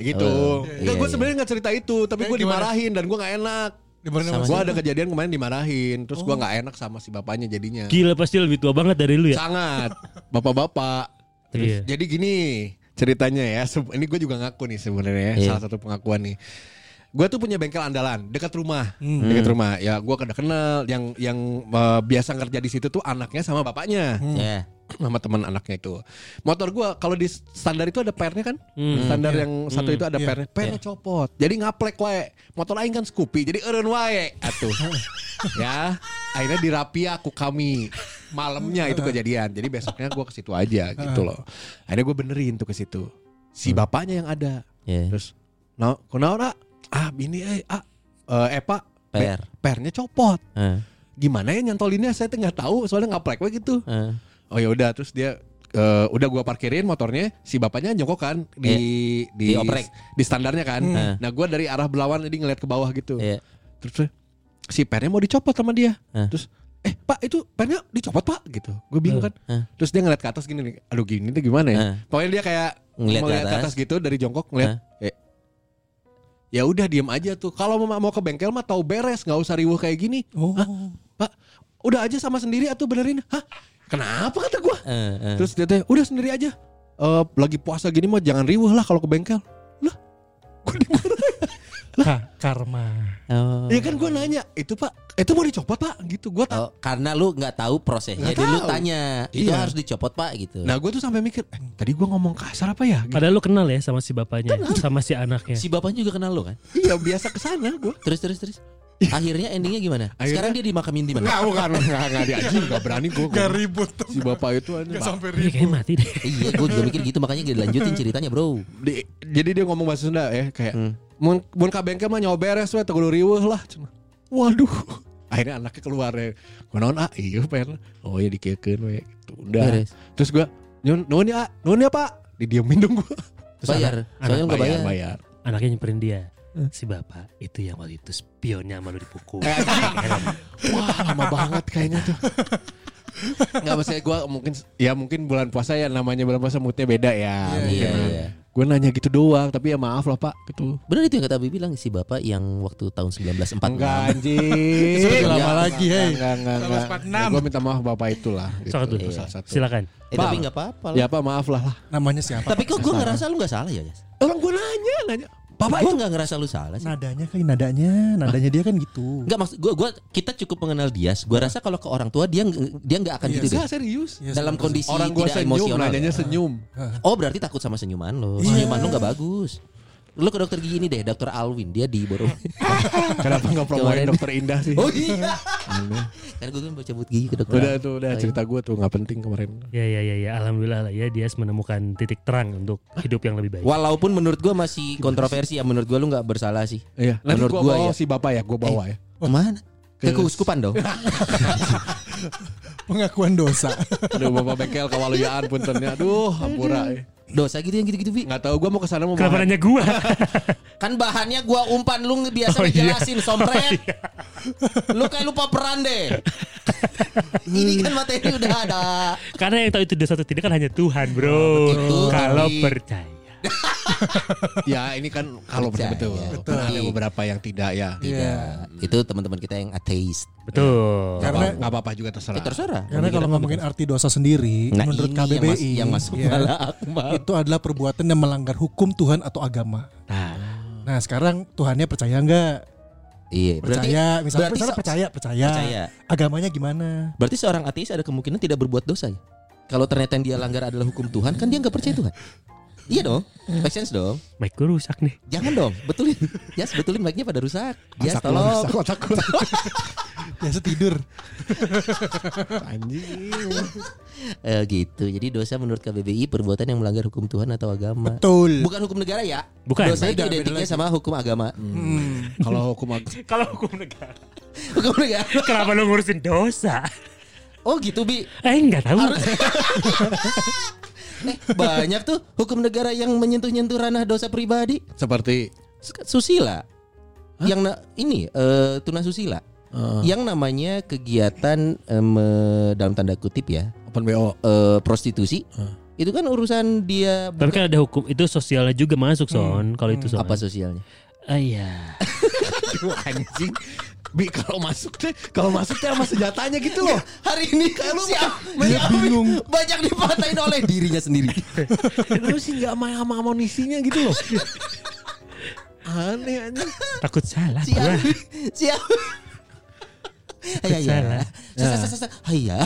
S4: Gitu. Eh,
S2: Oh,
S4: Enggak,
S2: iya,
S4: gue
S2: iya.
S4: sebenarnya nggak cerita itu, tapi gue dimarahin dan gue nggak enak.
S1: Dimarahin
S2: sama
S4: Gue
S2: siapa?
S4: ada kejadian kemarin dimarahin, terus gue nggak enak sama si bapaknya jadinya.
S3: Gila pasti lebih tua banget dari lu ya.
S4: Sangat, bapak-bapak.
S3: Iya.
S4: Jadi gini ceritanya ya, se- ini gue juga ngaku nih sebenarnya ya,
S2: Iya.
S4: salah satu pengakuan nih. Gue tuh punya bengkel andalan dekat rumah, dekat rumah. Ya gue kada kenal yang yang eh, biasa kerja di situ tuh anaknya sama bapaknya
S2: Ya.
S4: sama teman anaknya itu. Motor gua kalau di standar itu ada pernya kan? Standar yang satu itu ada pernya. Pernya copot. Jadi ngaplek wae. Motor aing kan Scoopy, jadi eureun wae atuh. ya. Akhirnya dirapia aku kami malamnya itu kejadian. Jadi besoknya gua ke situ aja gitu loh. Akhirnya gue benerin tuh ke situ. Si bapaknya yang ada.
S2: Ya.
S4: Terus, "Nah, kunaon, Ah? Ah, bini eh, ah, eh, eh, Pak,
S2: Per.
S4: pernya copot."
S2: Eh,
S4: Gimana ya nyantolinnya saya tuh nggak tahu soalnya ngaplek wae gitu.
S2: eh.
S4: Oh ya udah terus dia eh, udah gua parkirin motornya si bapaknya nyokok kan di di
S2: Iya. Dioprek.
S4: di standarnya kan.
S2: Hmm.
S4: Nah gua dari arah berlawan jadi ngeliat ke bawah gitu.
S2: Iya.
S4: Terus eh, si pernya mau dicopot sama dia.
S2: Hah.
S4: Terus eh Pak itu pernya dicopot Pak gitu. Gue bingung kan.
S2: Hmm. Hah.
S4: Terus dia ngeliat ke atas gini nih. Aduh gini tuh gimana ya?
S2: Hah.
S4: Pokoknya dia kayak
S2: Ngeliat ke
S4: ngeliat ke
S2: atas.
S4: atas gitu dari jongkok ngeliat. eh, ya udah diem aja tuh. Kalau mau mau ke bengkel mah tahu beres, nggak usah riuh kayak gini.
S1: Oh.
S4: Hah? Pak, udah aja sama sendiri atau benerin. Hah? Kenapa kata gua?
S2: Eh, eh.
S4: Terus dia tanya, udah sendiri aja. Eh, lagi puasa gini mah jangan riuh lah kalau ke bengkel. Lah, gua dimarahin.
S1: Ka- karma.
S2: Oh.
S4: ya kan gua nanya, itu pak, itu mau dicopot pak? Gitu, gua tak.
S2: Oh, karena lu nggak tahu prosesnya,
S4: Nggak
S2: jadi lu
S4: tahu.
S2: tanya itu
S4: Iya.
S2: harus dicopot pak gitu.
S4: Nah, gua tuh sampai mikir, eh, tadi gua ngomong kasar apa ya? Gitu.
S3: Padahal lu kenal ya sama si bapaknya, sama si anaknya.
S2: Si bapaknya juga kenal lu kan?
S4: iya, biasa kesana gua.
S2: Terus terus terus. Akhirnya endingnya gimana?
S4: Iya. Akhirnya-
S2: Sekarang dia dimakamin di mana?
S4: Enggak, bukan, enggak, enggak dia anjing, enggak berani gua. gua.
S1: Gak ribut.
S4: Si bapak itu anjing.
S1: Gak
S4: Pak.
S1: sampai
S3: Ini
S1: ribut.
S3: kayaknya mati deh.
S2: iya, gue juga mikir gitu makanya gak dilanjutin ceritanya bro.
S4: Di- jadi dia ngomong bahasa Sunda ya kayak mun mun ka bengkel mah nyawa beres we teguh riweuh lah Cuma, waduh akhirnya anaknya keluar ya gua naon ah iya pengen oh ya dikekeun we gitu udah
S2: Beres.
S4: terus gua nyun nuhun ya nuhun ya Pak didiemin dong gua
S2: Bayar,
S3: anak
S2: soalnya lu nggak bayar.
S4: bayar
S3: Anaknya nyamperin dia. Si bapak itu yang waktu itu spionnya sama lu dipukul.
S4: Eh, wah lama banget kayaknya tuh Enggak maksudnya gua mungkin ya mungkin bulan puasa ya namanya bulan puasa moodnya beda ya
S2: Iya,
S4: mungkin.
S2: iya.
S4: Gua nanya gitu doang tapi ya maaf lah Pak gitu
S2: Bener itu yang kata Abi bilang si bapak yang waktu tahun 1946.
S4: Enggak anjing.
S1: Itu lebih
S2: lama
S1: lagi, hei.
S4: Enggak, enggak,
S1: Sama
S4: enggak.
S1: 46.
S4: Gue minta maaf bapak itulah. Gitu.
S3: Salah satu.
S4: Itu Salah satu.
S3: Silakan.
S2: Eh, tapi nggak apa-apa. lah.
S4: Ya apa maaf lah. lah.
S1: Namanya siapa?
S2: Tapi kok gue ngerasa lu nggak salah ya? Jas?
S4: Orang gue nanya, nanya. Bapak
S2: Gue
S4: itu
S2: nggak ngerasa lu salah sih.
S1: Nadanya kayak nadanya, nadanya dia kan gitu.
S2: Enggak maksud gue, gua kita cukup mengenal dia. Gue rasa kalau ke orang tua dia dia nggak akan gitu deh.
S4: enggak serius.
S1: Iya,
S2: Dalam
S1: sebenarnya.
S2: kondisi
S4: Orang gue
S2: tidak
S4: senyum,
S2: emosional. ya.
S4: nanyanya senyum.
S2: Oh berarti takut sama senyuman lo. Senyuman lo nggak bagus. Lo ke dokter gigi ini deh, dokter Alwin dia di Borobudur.
S4: Kenapa nggak promoin
S2: Kemarin.
S4: dokter Indah sih?
S2: oh iya. Kan gue kan mau cabut gigi ke dokter. Iya.
S4: Udah tuh, udah cerita gue tuh nggak penting kemarin.
S3: Ya ya ya ya. Alhamdulillah lah ya dia menemukan titik terang untuk hidup yang lebih baik.
S2: Walaupun menurut gue masih kontroversi ya menurut gue lu nggak bersalah sih.
S4: Iya. Nanti
S2: menurut
S4: gue
S2: gue
S4: bawa
S2: ya.
S4: si bapak ya, gue bawa ya.
S2: Kemana? Ke
S4: Ke-
S2: keuskupan dong.
S1: Pengakuan dosa.
S4: Aduh bapak bengkel kawaluyaan puntennya. Aduh, ampura. ya.
S2: Dosa gitu yang gitu-gitu Bi.
S4: Nggak tahu gue mau kesana mau.
S3: Kenapa
S4: bawa-
S3: nanya gua?
S2: Kan bahannya gua umpan lu biasa
S3: Oh, iya.
S2: ngejelasin somret. Lu kayak lupa peran deh. Ini kan materi udah ada.
S3: Karena yang tahu itu dosa atau tidak kan hanya Tuhan, Bro.
S2: betul.
S3: Kalau
S2: Tapi-
S3: percaya.
S4: Ya ini kan kalau
S2: Percaya.
S4: betul.
S2: Betul. Iya.
S4: Kan ada beberapa yang tidak ya.
S2: Tidak. Itu teman-teman kita yang ateis.
S4: Iya.
S3: Betul.
S1: Karena
S4: Nggak apa-apa juga terserah.
S2: Eh, terserah.
S1: karena kalau ngomongin arti dosa sendiri
S2: Nah,
S1: menurut
S2: ini
S1: KBBI
S2: yang mas- yang masuk
S1: ya,
S2: malah akmal.
S1: itu adalah perbuatan yang melanggar hukum Tuhan atau agama.
S3: Nah,
S1: Nah sekarang Tuhannya percaya nggak?
S2: Iya, berarti
S1: Percaya, misalnya
S2: berarti
S1: misalnya
S2: se-
S1: percaya, percaya,
S2: percaya.
S1: Agamanya gimana?
S2: Berarti seorang ateis ada kemungkinan tidak berbuat dosa ya? Kalau ternyata yang dia langgar adalah hukum Tuhan, kan dia nggak percaya Tuhan. Iya dong, make sense dong.
S3: Mic gue rusak nih.
S2: Jangan dong, betulin. Ya, yes, betulin mic-nya pada rusak. Ya, yes,
S4: Otak lo,
S2: tolong.
S4: rusak otak gue.
S1: Ya setidur.
S4: Anjing.
S2: Eh, gitu. Jadi dosa menurut KBBI perbuatan yang melanggar hukum Tuhan atau agama.
S1: Betul.
S2: Bukan hukum negara ya?
S3: Bukan.
S2: Dosa itu
S1: Beda, beda
S2: identiknya
S1: lagi.
S2: sama hukum agama.
S1: Hmm.
S4: Kalau hukum ag-
S3: Kalau hukum negara.
S2: Hukum negara.
S3: Kenapa lu ngurusin dosa?
S2: Oh gitu bi.
S3: Eh nggak tahu.
S2: Harus. eh, banyak tuh hukum negara yang menyentuh-nyentuh ranah dosa pribadi.
S4: seperti
S2: Susila. Yang na- ini eh tuna susila.
S1: Ah.
S2: Yang namanya kegiatan eh, me- dalam tanda kutip ya
S4: open BO.
S2: eh, prostitusi
S1: Ah.
S4: Hah.
S2: itu kan urusan dia
S3: Tapi kan ada hukum itu sosialnya juga masuk son. Kalau itu son.
S2: apa sosialnya?
S3: Ah, iya.
S4: Aduh, anjing. Bi kalau masuk teh, kalau masuk teh sama senjatanya gitu loh.
S2: Hari ini lu Iya. siap Iya,
S1: Dia bingung.
S2: banyak dipatahin oleh dirinya sendiri.
S4: Lu sih nggak main sama amunisinya gitu loh. Aneh anjing.
S3: Takut salah.
S2: Siap.
S3: gua.
S2: Siap. Hayya.
S1: eh?
S3: Salah.
S2: Sa- sa-
S1: Ya.
S2: Ah, iya. sa- sa- Hayya.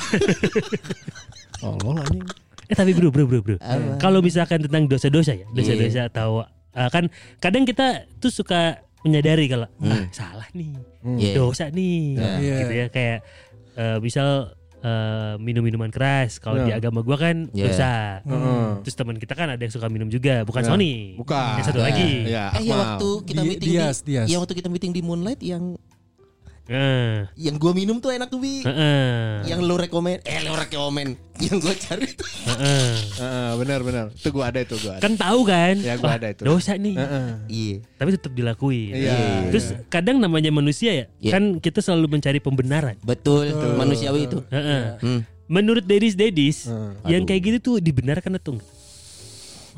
S4: Tolol anjing.
S3: Eh tapi bro bro bro bro.
S2: Apa? Iya.
S3: Kalau misalkan tentang dosa-dosa ya, dosa-dosa atau eh, kan kadang kita tuh suka menyadari kalau ah, salah nih,
S2: Hmm. Iya.
S3: dosa nih,
S1: Iya.
S3: gitu ya kayak eh, misal eh, minum minuman keras kalau di
S4: Iya.
S3: agama gua kan
S2: Iya.
S3: dosa.
S4: Heeh.
S3: Terus teman kita kan ada yang suka minum juga, bukan
S4: Iya.
S3: Sony.
S4: Bukan.
S3: Yang satu
S2: Iya.
S3: lagi.
S4: Iya,
S2: Eh ya
S4: Akmal.
S2: waktu kita
S1: Di-
S2: meeting
S1: Dias,
S2: di
S1: Dias.
S2: ya waktu kita meeting di Moonlight yang
S3: Heeh.
S2: yang gua minum tuh enak tuh Bi.
S3: Nah, Heeh.
S2: Yang lu rekomen, eh lu rekomen. Yang gua cari tuh
S3: Heeh.
S4: Heeh, Ah, benar benar. Itu gua ada itu gua ada.
S3: Kan tahu kan?
S4: Ya, gua
S3: Wah,
S4: ada itu.
S3: Dosa nih.
S4: Heeh.
S2: Iya.
S3: Tapi tetap dilakuin.
S4: Iya.
S3: Terus kadang namanya manusia ya,
S2: Iya.
S3: kan kita selalu mencari pembenaran.
S2: Betul, manusiawi itu.
S3: Heeh.
S4: Iya.
S2: Hmm.
S3: Menurut Dedis Dedis yang
S2: Aduh.
S3: kayak gitu tuh dibenarkan atau enggak?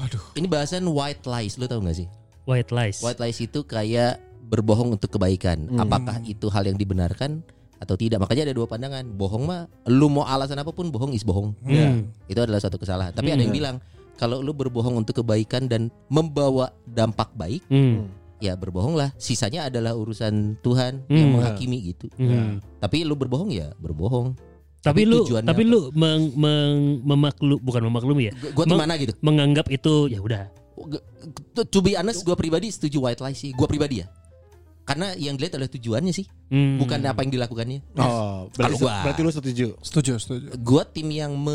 S1: Waduh.
S2: Ini bahasan white lies, lu tau gak sih?
S3: White lies.
S2: White lies itu kayak berbohong untuk kebaikan.
S3: Hmm.
S2: Apakah itu hal yang dibenarkan atau tidak? Makanya ada dua pandangan. Bohong mah lu mau alasan apapun bohong is bohong.
S3: Hmm.
S4: Iya.
S2: Itu adalah suatu kesalahan. Tapi ada yang bilang kalau lu berbohong untuk kebaikan dan membawa dampak baik,
S3: Hmm.
S2: ya berbohonglah. Sisanya adalah urusan Tuhan yang
S3: Hmm.
S2: menghakimi gitu.
S3: Hmm.
S2: Tapi lu berbohong ya berbohong.
S3: Tapi,
S2: Tapi
S3: lu
S2: tujuannya
S3: tapi
S2: apa?
S3: lu meng, meng- memaklu- bukan memaklumi ya.
S2: Gu- Gua
S3: Meng-
S2: gimana gitu?
S3: Menganggap itu ya udah.
S2: G- To be honest, gue pribadi setuju white lies sih. Gue pribadi ya. Karena yang dilihat adalah tujuannya sih,
S3: Hmm.
S2: bukan apa yang dilakukannya.
S4: Oh, berarti
S2: Kalau gua-
S4: berarti lu setuju.
S1: Setuju, setuju.
S2: Gua tim yang me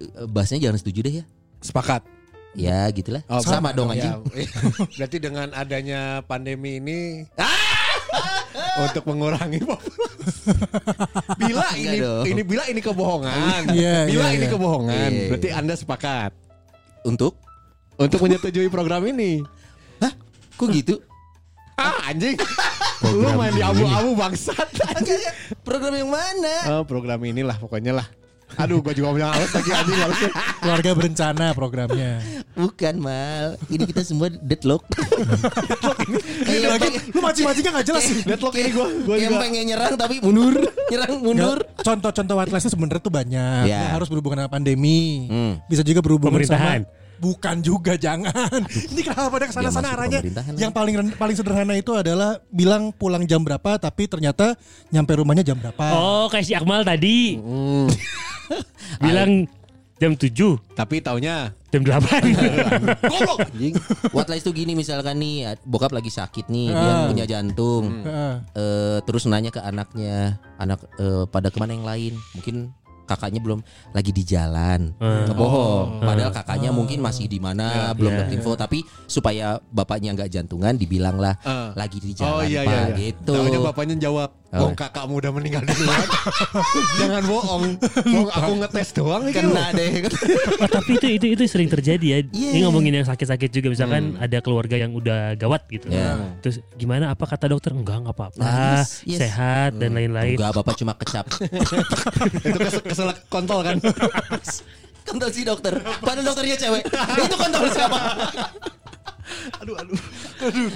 S2: eh, bahasanya jangan setuju deh ya.
S4: Sepakat.
S2: Ya gitulah.
S4: Oh,
S2: Sama, dong
S1: iya.
S2: anjing.
S4: Ya, berarti dengan adanya pandemi ini untuk mengurangi populasi. bila
S2: Enggak
S4: ini
S2: dong.
S4: ini bila ini kebohongan.
S1: Iya,
S4: bila
S1: iya,
S4: ini
S1: iya.
S4: kebohongan,
S2: Iya.
S4: berarti Anda sepakat
S2: Untuk
S4: untuk menyetujui program ini.
S2: Hah? Kok gitu?
S4: Ah, anjing. Lu main di abu-abu bangsat. anjing.
S2: Program yang mana?
S4: Oh, program inilah pokoknya lah. Aduh, gua juga punya alas lagi anjing alas.
S1: Keluarga berencana programnya.
S2: Bukan mal. Ini kita semua deadlock.
S1: Ini
S2: Kayak
S1: lagi,
S2: pengen-
S1: lu mancing-mancingnya nggak jelas sih.
S4: Deadlock ini gua, gua
S2: yang
S4: juga.
S2: pengen nyerang tapi mundur, nyerang mundur.
S1: Nggak, Contoh-contoh white lies sebenarnya tuh banyak.
S2: Ya.
S1: Nggak harus berhubungan sama pandemi.
S2: Hmm.
S1: Bisa juga berhubungan
S3: Pemerintahan.
S1: sama bukan juga jangan. Ini kenapa pada kesana
S2: Ya, masuk
S1: sana arahnya?
S2: pemerintahan
S1: Yang paling ren- paling sederhana itu adalah bilang pulang jam berapa tapi ternyata nyampe rumahnya jam berapa.
S3: Oh, kayak si Akmal tadi.
S2: Hmm.
S3: Bilang jam 7,
S4: Tapi taunya
S3: jam 8.
S4: goblok anjing.
S2: What lies tuh gini misalkan nih bokap lagi sakit nih dia
S1: Ah.
S2: punya
S4: Hmm.
S2: jantung
S1: Heeh.
S2: Eh, terus nanya ke anaknya anak eh, pada kemana yang lain mungkin kakaknya belum lagi di jalan
S4: Ah.
S2: bohong padahal kakaknya mungkin masih di mana belum
S3: iya,
S2: dapat info tapi supaya bapaknya nggak jantungan dibilanglah
S4: Ah.
S2: lagi di
S4: Oh
S2: jalan
S4: iya
S2: pak
S4: iya. iya.
S2: gitu
S4: Taunya bapaknya jawab, "Wong kakakmu udah meninggal duluan." Jangan bohong. Wong aku ngetes doang nih
S2: kena deh
S3: Oh, tapi itu itu itu sering terjadi ya.
S2: Iya.
S3: Ini ngomongin yang sakit-sakit juga misalkan ada keluarga yang udah gawat gitu.
S2: Iya.
S3: Terus gimana apa kata dokter? Enggak, enggak apa-apa.
S2: Nah, yes, yes. Hmm,
S3: Sehat dan
S4: Nah,
S3: lain-lain.
S2: enggak bapak cuma kecap
S4: Itu kesel, kesel kontol kan.
S2: kontol si dokter padahal dokternya cewek Nah, itu kontol siapa
S4: aduh aduh.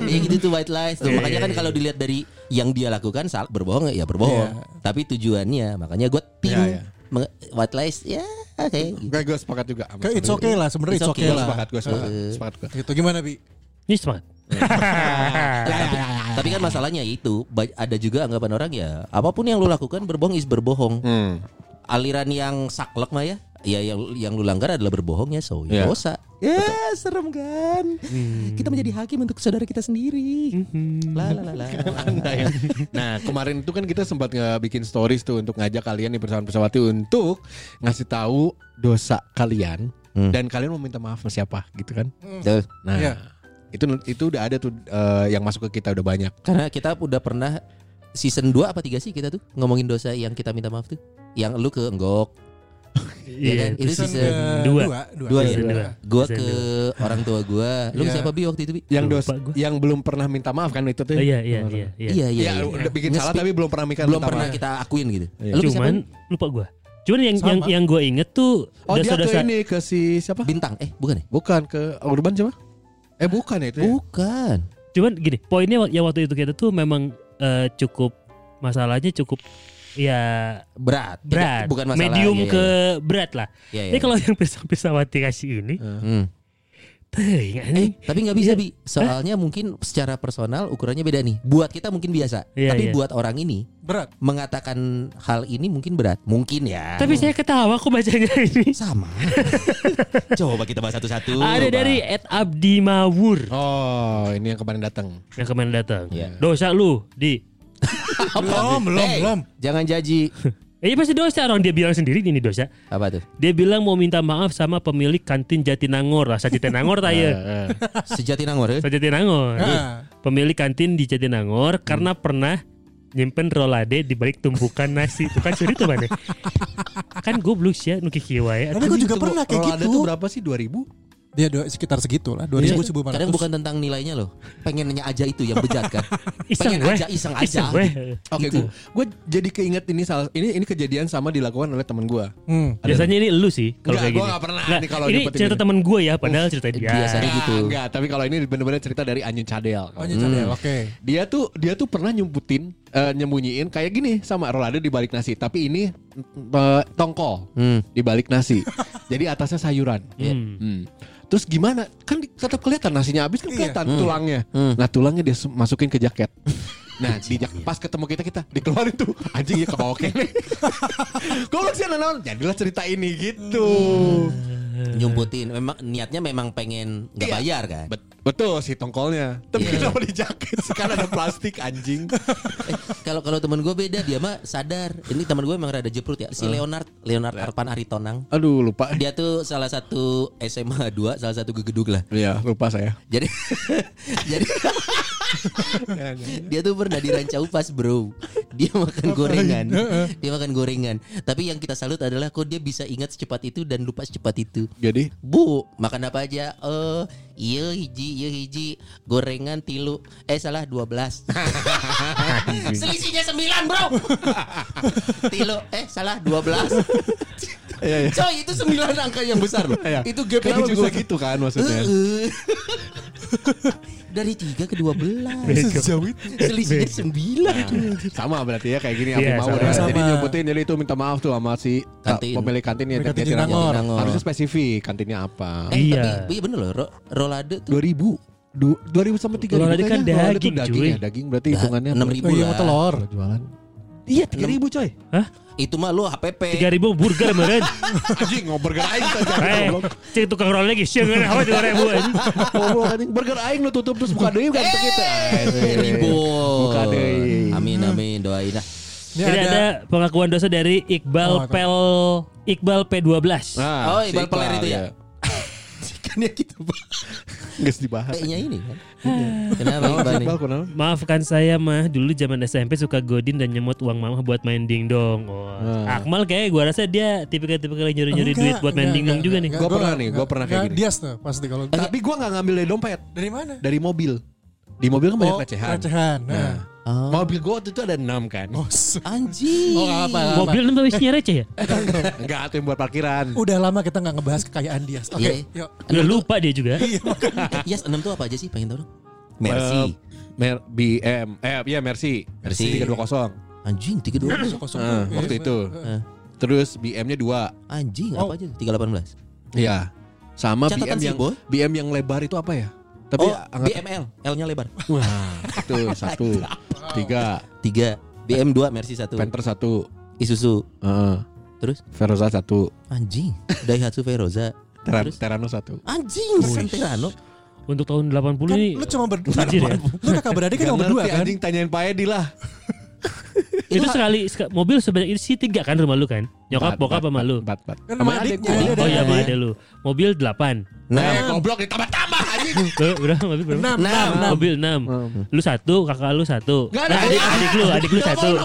S4: Iya,
S2: Ya gitu tuh white lies tuh. Makanya kan kalau dilihat dari yang dia lakukan salah berbohong ya berbohong. Tapi tujuannya makanya gue tim
S4: Iya, iya.
S2: meng- white lies ya kayak gitu.
S4: Gue gue sepakat juga. sama
S1: Kayak it's
S4: sebenarnya.
S1: okay lah sebenarnya
S2: It's
S1: it's
S2: okay.
S1: okay
S4: Gue
S1: lah.
S4: sepakat, gue sepakat. Sepakat gue.
S1: Gitu gimana Bi?
S3: Ini semangat.
S4: Ah, iya,
S2: tapi, tapi kan masalahnya itu ba- ada juga anggapan orang ya apapun yang lu lakukan berbohong is berbohong.
S4: Hmm.
S2: Aliran yang saklek mah ya. Ya yang yang lu langgar adalah berbohongnya so ya
S4: Iya.
S2: dosa. Ya serem kan. Kita menjadi hakim untuk saudara kita sendiri. La, la, la, la.
S4: Anda ya. Nah kemarin itu kan kita sempat nggak bikin stories tuh untuk ngajak kalian di persawahan pesawati untuk ngasih tahu dosa kalian
S2: Hmm.
S4: dan kalian mau minta maaf sama siapa gitu kan?
S2: Tuh.
S4: Nah
S1: Iya.
S4: itu itu udah ada tuh eh, yang masuk ke kita udah banyak.
S2: Karena kita udah pernah season 2 apa 3 sih kita tuh ngomongin dosa yang kita minta maaf tuh. Yang lu ke enggok, Iya kan?
S3: Iya,
S2: Itu
S3: terus
S2: season
S1: ke
S3: dua.
S1: eh, dua,
S2: Dua Iya.
S3: ya? Dua.
S2: gua
S3: Season
S2: ke orang tua gua. Lu
S1: Iya.
S2: siapa Bi waktu itu Bi?
S4: Yang
S3: Lupa
S4: dosa
S3: gua.
S4: yang belum pernah minta maaf kan itu tuh?
S3: Oh, iya, iya, iya, iya.
S2: Iya, iya. iya.
S4: Ya, udah bikin salah
S2: Nge-speak.
S4: tapi belum pernah mikir
S2: belum
S4: minta
S2: pernah
S4: maaf.
S2: kita akuin gitu.
S4: Iya.
S2: Lu
S3: Ya. Cuman
S2: siapa?
S3: lupa gua. Cuman yang
S1: Sama.
S3: yang yang gua inget tuh
S4: Oh dia ke
S3: dosa-dosa
S4: ini ke si siapa?
S2: bintang eh bukan ya?
S4: Bukan ke Urban siapa? Eh bukan ya itu. ya?
S2: Bukan.
S3: Cuman gini, poinnya wak- yang waktu itu kita tuh memang eh, cukup masalahnya cukup ya
S2: Berat. Tidak-
S3: berat,
S2: bukan masalah.
S3: medium
S2: Iya, iya,
S3: ke berat lah.
S2: Iya, iya.
S3: Ini kalau yang pisau-pisauati kasih ini,
S2: Hmm.
S3: teuing
S2: Eh,
S3: anjing.
S2: tapi nggak bisa bi. Soalnya mungkin secara personal ukurannya beda nih. Buat kita mungkin biasa,
S3: Iya,
S2: tapi
S3: iya.
S2: buat orang ini
S1: berat
S2: mengatakan hal ini mungkin berat. Mungkin ya.
S3: Eh, Tapi saya ketawa kok bacanya ini.
S2: sama. Coba kita bahas satu-satu.
S3: Ada
S2: Coba.
S3: dari Ed Abdi Mawur
S4: Oh ini yang kemarin datang.
S3: yang kemarin datang.
S2: Iya.
S3: Dosa lu di.
S1: belum belum
S2: Hey,
S1: belum
S2: Jangan jaji.
S3: Eh, Ini pasti dosa orang dia bilang sendiri ini dosa.
S2: Apa tuh?
S3: Dia bilang mau minta maaf sama pemilik kantin Jatinangor lah, Sajatinangor tah ya.
S2: Nah.
S4: Eh, eh.
S2: Sejati nangor.
S3: Iya.
S2: eh?
S3: Sajatinangor.
S1: Heeh.
S3: Pemilik kantin di Jatinangor
S2: Hmm.
S3: karena pernah nyimpen rolade di balik tumpukan nasi. Itu kan suri tuh mana? kan goblok sih ya nuki kiwa ya.
S1: tapi gue juga
S4: Itu
S1: pernah kayak
S4: kalau ada
S1: gitu
S4: tuh berapa Iya. sih 2000?
S1: dia dua- sekitar segitu lah dua ribu seribu
S2: Iya. Kadang bukan tentang nilainya loh. Pengennya aja itu yang bejat kan.
S3: Iseng
S2: Pengen
S3: weh.
S2: aja iseng aja.
S3: Iseng weh.
S4: Oke,
S2: Gitu.
S4: gue jadi keinget ini salah ini ini kejadian sama dilakukan oleh teman gue.
S1: Hmm.
S3: Biasanya ini lu sih kalau
S4: Enggak,
S3: kayak
S4: gua
S3: gini.
S4: nggak pernah
S3: Nah,
S4: nih kalau
S3: ini
S4: dapetin
S3: cerita
S4: ini.
S3: teman gue ya, padahal cerita dia.
S2: biasanya
S4: Enggak,
S2: gitu.
S4: enggak, tapi kalau ini bener-bener cerita dari Anyun Cadel.
S1: Oh, ini
S4: Hmm.
S1: cadel, oke.
S4: Dia tuh dia tuh pernah nyumputin eh, nyembunyiin kayak gini sama rolade di balik nasi, tapi ini eh, tongkol
S2: Hmm.
S4: di balik nasi. Jadi atasnya sayuran.
S3: Hmm.
S4: Hmm. Terus gimana? Kan di- tetap kelihatan nasinya habis kan kelihatan tulangnya.
S2: Hmm.
S4: Nah, tulangnya dia se- masukin ke jaket. Nah, di jak- pas ketemu kita kita dikeluarin tuh anjing ya kebawa kene. Goblok sih anak-anak. Jadilah cerita ini gitu.
S2: Hmm. nyumputin memang niatnya memang pengen nggak
S4: Iya.
S2: bayar kan
S4: Bet- betul sih tongkolnya. Tapi
S2: Iya.
S4: kenapa di jaket? Sekarang ada plastik anjing.
S2: Eh, kalau kalau temen gue beda dia mah sadar ini temen gue emang rada jeprut ya si Leonard Leonard Arpan Aritonang
S4: Aduh, lupa.
S2: dia tuh salah satu SMA 2 salah satu gegeduk lah
S4: Iya, lupa saya.
S2: jadi jadi dia tuh pernah di Rancau pas bro dia makan gorengan dia makan gorengan tapi yang kita salut adalah kok dia bisa ingat secepat itu dan lupa secepat itu
S4: Jadi
S2: Bu, makan apa aja? Eh, iya hiji, iya hiji, gorengan tilu. Eh salah 12. Selisihnya 9, Bro. tilu, eh salah 12.
S4: Iya, iya.
S2: Coy, itu 9 angka yang besar loh.
S4: Iya.
S2: Itu gap
S4: kenapa bisa
S2: gitu.
S4: gitu kan maksudnya?
S2: Dari 3 ke 12.
S1: sejauh itu
S2: Selisihnya 9.
S4: sama berarti ya kayak gini
S3: Iya, sama.
S4: aku mau ya. Jadi
S1: Sama.
S4: nyumputin jadi itu minta maaf tuh sama si
S2: Kantin.
S4: kantin. pemilik kantin ya
S1: Pemilik
S4: dia
S1: kantin
S4: Cirangon.
S2: Cirangon.
S4: Harusnya spesifik kantinnya apa?
S2: Eh,
S3: Iya.
S2: tapi iya bener loh, ro- rolade tuh
S4: 2000 Du- 2000 sampai 3000
S3: Kalau tadi kan
S4: kayaknya. Kalau ada tuh
S3: daging,
S4: daging
S3: cuy. Oh,
S4: ya, daging berarti hitungannya
S2: 6000
S1: iya
S2: lah.
S1: telur
S4: Kalau jualan. Iya 3000 coy.
S3: Hah?
S2: Itu mah lu HPP.
S3: 3000 burger meren.
S4: Anjing mau burger aing saja.
S3: Eh, cek tukang roll lagi sih nggak apa tiga ribu.
S4: Goblok anjing burger aing lu tutup terus buka deui kan kita.
S2: Eh, Ribu.
S4: Eh, Buka deui.
S2: Amin amin doain lah.
S1: ini
S3: Jadi ada pengakuan dosa dari
S1: Oh,
S3: Iqbal
S1: tahu.
S3: Pel Iqbal P12.
S4: Nah,
S2: Oh, Iqbal
S4: si
S2: Peler itu ya?
S4: iya.
S2: Kan ya kita
S4: Geus dibahas.
S2: P-nya ini kan. Kenapa Iqbal nih?
S4: Iqbal kunaon?
S3: Maafkan saya mah dulu zaman SMP suka godin dan nyemot uang mama buat main dingdong. Oh,
S4: Ah.
S3: Akmal kayak gua rasa dia tipikal-tipikal yang nyuri-nyuri duit buat main dingdong juga nih.
S4: Gua pernah nih, gua pernah kayak gini.
S1: Dia tuh pasti kalau
S4: Tapi gua nggak ngambil dari dompet,
S1: dari mana?
S4: dari mobil. Di mobil kan banyak
S1: Oh,
S4: recehan.
S1: Recehan. Nah.
S4: Mobil gua waktu itu ada 6 kan.
S1: Oh, s-
S2: Oh, Anjing.
S1: Oh, nggak apa-apa, nggak apa-apa.
S3: Mobil namanya isinya receh ya?
S4: Eh, Enggak, itu yang buat parkiran.
S1: Udah lama kita nggak ngebahas kekayaan Dias. Oke,
S2: Iya.
S1: yuk. Iya,
S3: Udah lupa dia juga.
S2: Yes, 6 tuh apa aja sih? Pengen tahu dong.
S4: Eh, Mer BM. Eh, iya Mercy.
S2: Mercy.
S4: 320.
S2: Anjing 32.
S1: Kosong
S4: Eh,
S1: dulu.
S4: waktu
S1: Iya,
S4: itu.
S2: Eh.
S4: Terus BM-nya 2.
S2: Anjing
S1: Oh.
S2: apa aja? 318.
S4: Iya. Sama
S2: Catatan
S4: BM
S2: si
S4: yang
S2: Boy.
S4: BM yang lebar itu apa ya? Tapi
S2: oh,
S4: angkat
S2: BML, L-nya lebar.
S4: Wah, itu satu, tiga,
S2: Tiga, BM dua, Mercy satu,
S4: Panther satu,
S2: Isuzu,
S4: Heeh.
S2: terus
S4: Feroza satu,
S2: anjing, Daihatsu Veroza,
S4: Teran,
S2: terus
S4: Terano satu.
S2: anjing, Santerano.
S3: Untuk tahun 80
S1: Kan
S3: ini
S1: lu cuma berdua.
S3: Jujur ya?
S1: Lu kakak beradik kan
S4: Gak
S1: cuma berdua
S4: ngerti,
S1: kan?
S4: Anjing tanyain Pak Edi lah.
S3: itu sekali seka- mobil sebanyak itu sih tiga kan rumah lu kan? Nyokap,
S4: Empat,
S3: bokap
S4: empat,
S3: sama lu.
S4: Empat, empat.
S1: Kan sama adiknya,
S4: gua.
S1: dia
S3: Oh iya sama
S1: adik.
S3: ada lu. Mobil delapan.
S4: Nah,
S2: Nah,
S4: goblok ditambah-tambah anjing.
S3: Lu berapa mobil berapa?
S1: Enam,
S2: Enam.
S1: enam, enam.
S3: Mobil enam. Lu satu, kakak lu satu.
S4: Nggak ada.
S3: Nah, adik, adik lu, adik lu satu. Iya,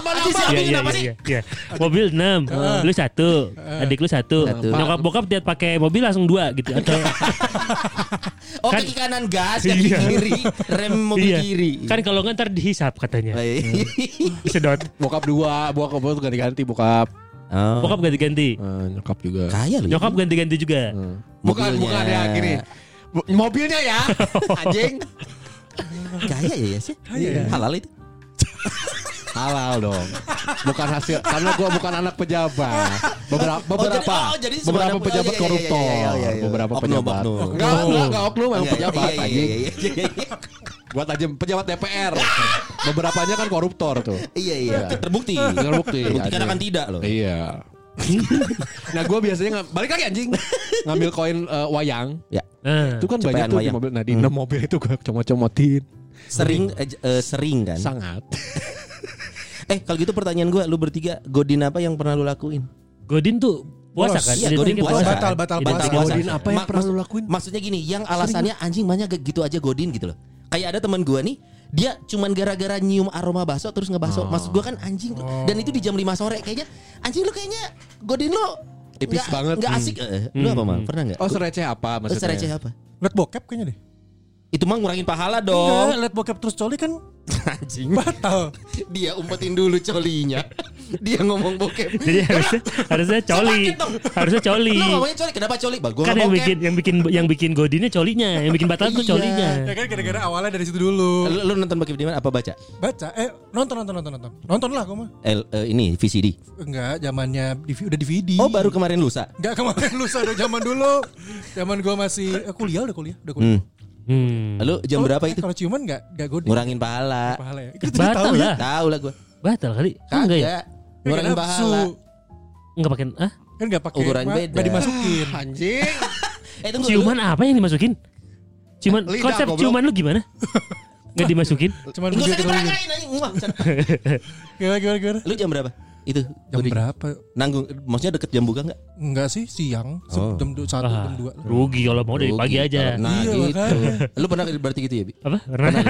S3: iya, iya, iya, iya. Mobil enam, lu satu, adik lu satu.
S2: Satu.
S3: Nyokap bokap lihat pakai mobil langsung dua gitu. Atau
S2: oh
S3: Kan-
S2: kaki kanan gas, kaki
S3: Iya.
S2: kiri, rem mobil
S3: Iya.
S2: kiri. iya.
S3: kan kalau nggak ntar dihisap katanya. Sedot.
S4: Bokap dua, bokap bokap ganti-ganti bokap.
S2: Oh,
S3: Bokap ganti-ganti.
S4: Eh, nyokap juga.
S2: kaya lu. ya.
S3: Hmm. Nyokap ganti-ganti juga.
S2: Mobilnya.
S4: Bukan, bukan ya gini. Bu- Mobilnya ya, anjing.
S2: Kaya ya ya sih.
S1: Kaya ya.
S2: Halal itu.
S4: Halal dong. Bukan hasil karena gua bukan anak pejabat. Beberapa beberapa
S2: oh, jadi semua
S4: beberapa
S2: anak- oh,
S4: pejabat
S2: iya, iya, iya,
S4: koruptor,
S2: iya, iya, iya.
S4: beberapa
S2: Oknum,
S4: pejabat.
S2: oknum.
S4: Enggak, enggak, enggak oknum emang
S2: Enggak,
S4: pejabat
S2: iya, iya,
S4: anjing.
S2: iya, iya, iya, iya.
S4: Buat aja pejabat DPR. Beberapanya kan koruptor tuh.
S2: Iya iya. Terbukti.
S4: Terbukti.
S2: Terbuktikan
S4: Ada.
S2: akan tidak loh.
S4: Iya. nah gue biasanya nggak balik lagi anjing ngambil koin eh, wayang
S2: Ya.
S3: Ah.
S4: itu kan
S2: Cepean
S4: banyak tuh di
S2: wayang.
S4: mobil nah
S3: Hmm.
S4: di enam mobil itu gue comot-comotin
S2: Sering eh, j- eh, sering kan.
S4: sangat
S2: Eh kalau gitu pertanyaan gue, lu bertiga godin apa yang pernah lu lakuin?
S3: Godin tuh puasa kan?
S2: Iya,
S3: Identiknya
S2: Godin puasa.
S1: Batal, batal,
S3: Identiknya
S1: batal.
S2: puasa.
S4: Godin apa yang
S2: Ma-
S4: pernah
S2: maksud-
S4: lu lakuin?
S2: Maksudnya gini, yang alasannya anjing banyak gitu aja Godin gitu loh. Kayak ada teman gua nih, dia cuman gara-gara nyium aroma bakso terus ngebakso. Maksud gua kan anjing
S4: Oh.
S2: dan itu di jam 5 sore kayaknya anjing lu kayaknya Godin lu
S4: Tipis
S2: nggak-
S4: banget.
S2: nggak
S4: Hmm.
S2: asik. Eh, Lu apa mal? Pernah nggak?
S4: oh sereceh apa
S2: Lu
S4: maksudnya
S2: sereceh apa?
S1: Lihat bokep kayaknya deh.
S2: Itu mah ngurangin pahala
S1: Enggak,
S4: Iya,
S2: dong.
S1: lihat Iya, bokep terus coli kan
S2: anjing.
S1: batal.
S2: Dia umpetin dulu colinya. Dia ngomong bokep.
S3: Jadi harusnya harusnya coli.
S2: Sakit dong.
S3: Harusnya coli.
S2: Lu ngomongnya coli, kenapa coli? Bah, gua
S3: Kan yang
S2: ngomong
S3: bikin yang bikin yang bikin godinya colinya, yang bikin batal tuh
S2: Iya.
S3: colinya.
S1: Ya kan gara-gara awalnya dari situ dulu.
S2: lu, lu nonton bokep di mana? Apa baca?
S1: Baca, eh nonton nonton nonton nonton. Nonton lah gua mah.
S2: L, eh, ini VCD.
S1: Enggak, zamannya DV udah DVD.
S2: Oh, baru kemarin lusa.
S1: Enggak kemarin lu udah zaman dulu. Zaman gua masih eh, kuliah udah kuliah, udah kuliah.
S2: Hmm.
S3: Hmm.
S2: Lu jam
S1: Kalau-
S2: berapa
S1: eh,
S2: itu?
S1: Kalau ciuman enggak enggak godin
S2: Ngurangin pahala.
S1: pahala ya. Itu jadi
S3: Batal
S1: tahu ya.
S3: lah.
S2: Tahu lah gua.
S3: Batal kali. Enggak ya?
S2: Kagak. Ngurangin
S1: Nggak nafsu.
S2: pahala.
S3: Enggak pakai ah?
S1: Kan enggak pakai
S2: Ukuran
S1: ma-
S2: beda.
S1: nggak dimasukin.
S4: anjing
S2: Eh tunggu.
S3: Ciuman apa yang dimasukin? Ciuman
S4: Lidah,
S3: konsep
S4: goblok.
S3: ciuman lu gimana? Enggak dimasukin.
S1: Cuman
S2: Enggak usah
S1: begitu doang.
S2: diperagain anjing. Muah, Chan.
S1: Gimana gimana gimana?
S2: Lu jam berapa? Itu.
S1: Jam
S2: Budi.
S1: berapa?
S2: Nanggung. Maksudnya deket jam buka enggak?
S1: Enggak sih, siang. Se-
S2: Oh.
S1: Jam 1
S3: Ah,
S1: jam 2.
S3: rugi kalau mau dari
S2: Rugi
S3: pagi aja.
S2: kalau- Nah,
S1: Iya,
S2: gitu.
S1: makanya.
S2: Lu pernah berarti gitu ya, Bi?
S3: Apa? Pernah?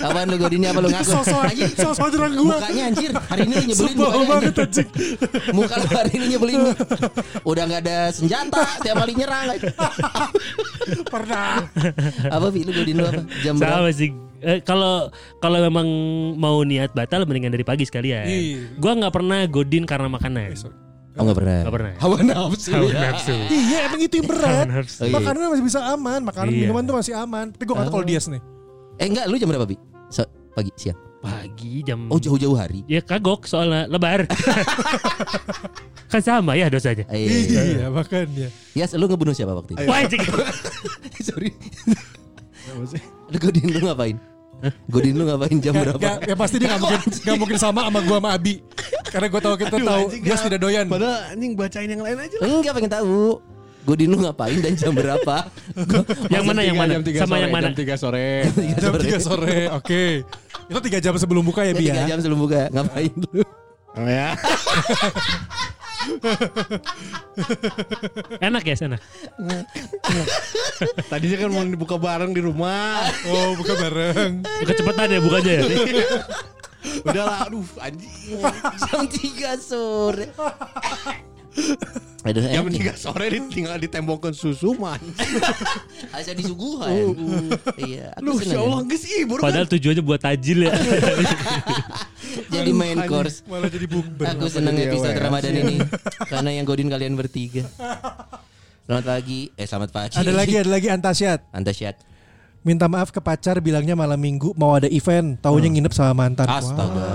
S2: Apaan lu godinnya apa lu ngaku?
S1: Sosok
S2: Anjing.
S1: sosok nyerang gua.
S2: Mukanya anjir, hari ini lu nyebelin
S1: Sebel
S2: mukanya,
S1: banget
S2: anjing.
S1: anjing.
S2: Muka lu hari ini nyebelin Udah gak ada senjata Tiap kali nyerang
S1: Pernah.
S2: Apa Fi lu godin lu apa Jam berapa
S3: Sama sih. Eh, Kalau kalau memang mau niat batal mendingan dari pagi sekalian.
S1: Iya.
S3: Gua nggak pernah godin karena makanan.
S2: Oh gak pernah
S3: Gak pernah.
S2: Hawa nafsu Oh, iya.
S3: Hawa
S2: ya.
S3: nafsu.
S1: Iya emang itu yang berat
S3: Hawa nafsu.
S1: Makanan masih bisa aman Makanan
S3: Iya.
S1: minuman tuh masih aman Tapi gue gak tau
S2: Oh.
S1: kalau Dias nih
S2: Eh enggak lu jam berapa Bi So- Pagi siang
S3: Pagi jam
S2: Oh jauh-jauh hari
S3: Ya kagok soalnya lebar. kan sama ya dosanya.
S2: Eh,
S1: Iya makanya
S2: Yas lu ngebunuh siapa waktu itu
S3: Wah, anjing.
S2: Sorry Lu godin lu ngapain Godin lu ngapain jam
S1: Gak-
S2: berapa
S1: gak- ya pasti dia gak mungkin gak mungkin sama sama gue sama Abi karena gue tahu kita tahu dia tidak doyan
S4: ah. padahal anjing bacain yang lain aja
S2: Enggak pengen tahu Godin lu ngapain dan jam berapa
S3: yang mana yang mana?
S4: jam tiga
S3: Sama
S4: sore,
S3: yang mana?
S4: jam 3 sore
S1: jam 3 sore oke itu 3 jam sebelum buka ya
S2: Ya,
S1: Bi
S2: tiga
S1: ya
S2: jam sebelum buka Ngapain lu
S4: oh, ya
S3: Enak ya, enak.
S4: tadinya kan mau dibuka bareng di rumah Iya.
S1: oh buka bareng
S3: Kecepatan ya bukannya ya.
S4: udah lah aduh anjing
S2: Jam 3 sore Aduh,
S4: jam
S2: eh,
S4: 3 sore ditinggal ditembokkan susu man
S2: Aja disuguhan. Iya, aku
S4: lu Oh. ya Allah
S2: senang.
S4: geus ih baru
S3: Padahal tujuannya buat tajil ya.
S2: Jadi main course.
S1: malah jadi bukber
S2: Aku senang
S4: jadi
S2: episode
S4: awet?
S2: Ramadan ini karena yang godin kalian bertiga. Selamat pagi. Eh, selamat pagi.
S1: ada lagi ada lagi Antasyat
S2: Antasyat.
S1: minta maaf ke pacar bilangnya malam minggu mau ada event taunya nginep sama mantan Wah,
S2: Astaga.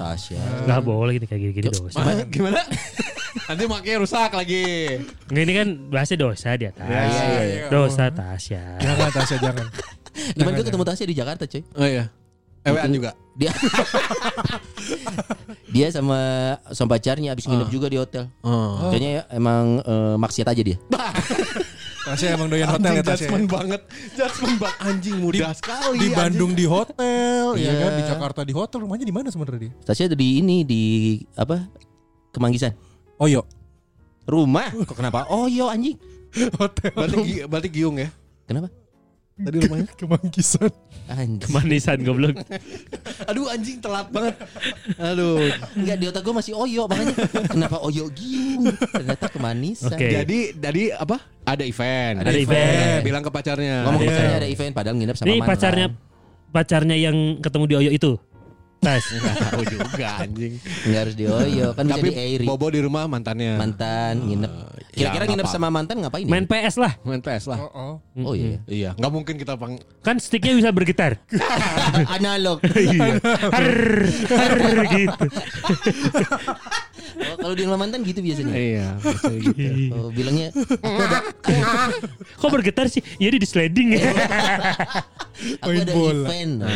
S2: Tasya.
S3: Gak boleh gini kayak gini-gini dosa.
S4: Ma- gimana? Nanti makanya rusak lagi.
S3: Nggak, ini kan bahasnya dosa di atas.
S4: Iya, iya,
S1: iya.
S3: Dosa ya. Tasya.
S1: Jangan Tasya jangan.
S2: Cuman
S4: ya.
S2: gue ketemu Tasya di Jakarta cuy.
S4: Oh iya. Ewean juga.
S2: Dia dia sama sama pacarnya abis nginep juga di hotel.
S4: Ah. Oh.
S2: Kayaknya ya, emang eh, maksiat aja dia.
S1: Tasya emang doyan hotel
S4: Anjing
S1: ya Tasya.
S4: judgement Iya, banget. Judgement banget anjing mudah sekali.
S1: Di
S4: iya, anjing.
S1: Bandung di hotel, ya
S2: Iya.
S1: kan? Di Jakarta di hotel. Rumahnya di mana sebenarnya dia?
S2: Tasya di ini di apa? Kemanggisan.
S1: Oh yuk.
S2: Rumah. Kok kenapa? Oh yo anjing.
S1: Hotel.
S4: Berarti, Gi- berarti giung ya.
S2: Kenapa?
S4: Tadi rumahnya.
S1: Kemangkisan.
S2: Anjing.
S3: Manisan goblok.
S4: Aduh anjing telat banget. Aduh.
S2: Enggak di otak gue masih oyo makanya kenapa oyo giung ternyata kemanisan.
S3: Oke.
S4: Jadi dari apa? Ada event.
S3: Ada event.
S4: Bilang ke pacarnya.
S2: Ngomong
S3: Ada
S2: ke pacarnya
S3: event.
S2: ada event padahal nginep sama
S3: Iya. Ini
S2: mantan.
S3: pacarnya pacarnya yang ketemu di Oyo itu. Tas.
S4: Nggak tahu juga anjing.
S2: Enggak harus di oyo kan bisa
S4: Tapi
S2: di Airy.
S4: Bobo di rumah mantannya.
S2: Mantan nginep. Kira-kira
S4: nggak
S2: nginep
S4: apa.
S2: sama mantan ngapain? ya?
S3: Main PS lah.
S4: Main PS lah.
S1: Oh, oh.
S2: Oh iya.
S4: Iya, nggak mungkin kita pang
S3: Kan sticknya bisa bergetar.
S2: Analog.
S3: Iya. Har, har gitu.
S2: Oh, kalau di rumah mantan gitu biasanya.
S4: Iya, maksudnya gitu.
S2: Oh, bilangnya aku ada
S3: Kok bergetar sih? Ya dia di sliding.
S2: aku
S1: Main
S2: ada
S1: bola.
S2: event. Nah,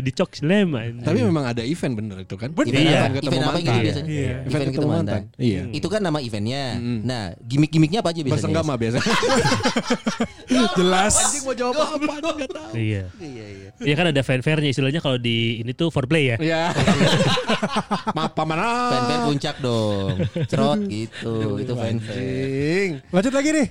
S3: di cok slam. anjing.
S4: Tapi memang ada event bener itu kan?
S1: Bener.
S2: Event
S3: Iya.
S2: apa? Iya. Event apa gitu biasanya?
S1: Iya.
S2: Event ketemu mantan.
S4: Iya.
S2: Itu kan nama eventnya. Nah, gimmick-gimmicknya apa aja biasanya?
S4: Bersenggama biasanya.
S1: Jelas.
S4: mau jawab apa? Enggak tahu.
S3: Iya.
S2: Iya, iya.
S3: Iya kan ada fanfare-nya istilahnya kalau di ini tuh foreplay ya.
S4: Ya. Maaf paman. ah.
S2: Fan-fan puncak dong. Cerot gitu. Itu fan-fan.
S4: Anjing.
S1: Lanjut lagi nih.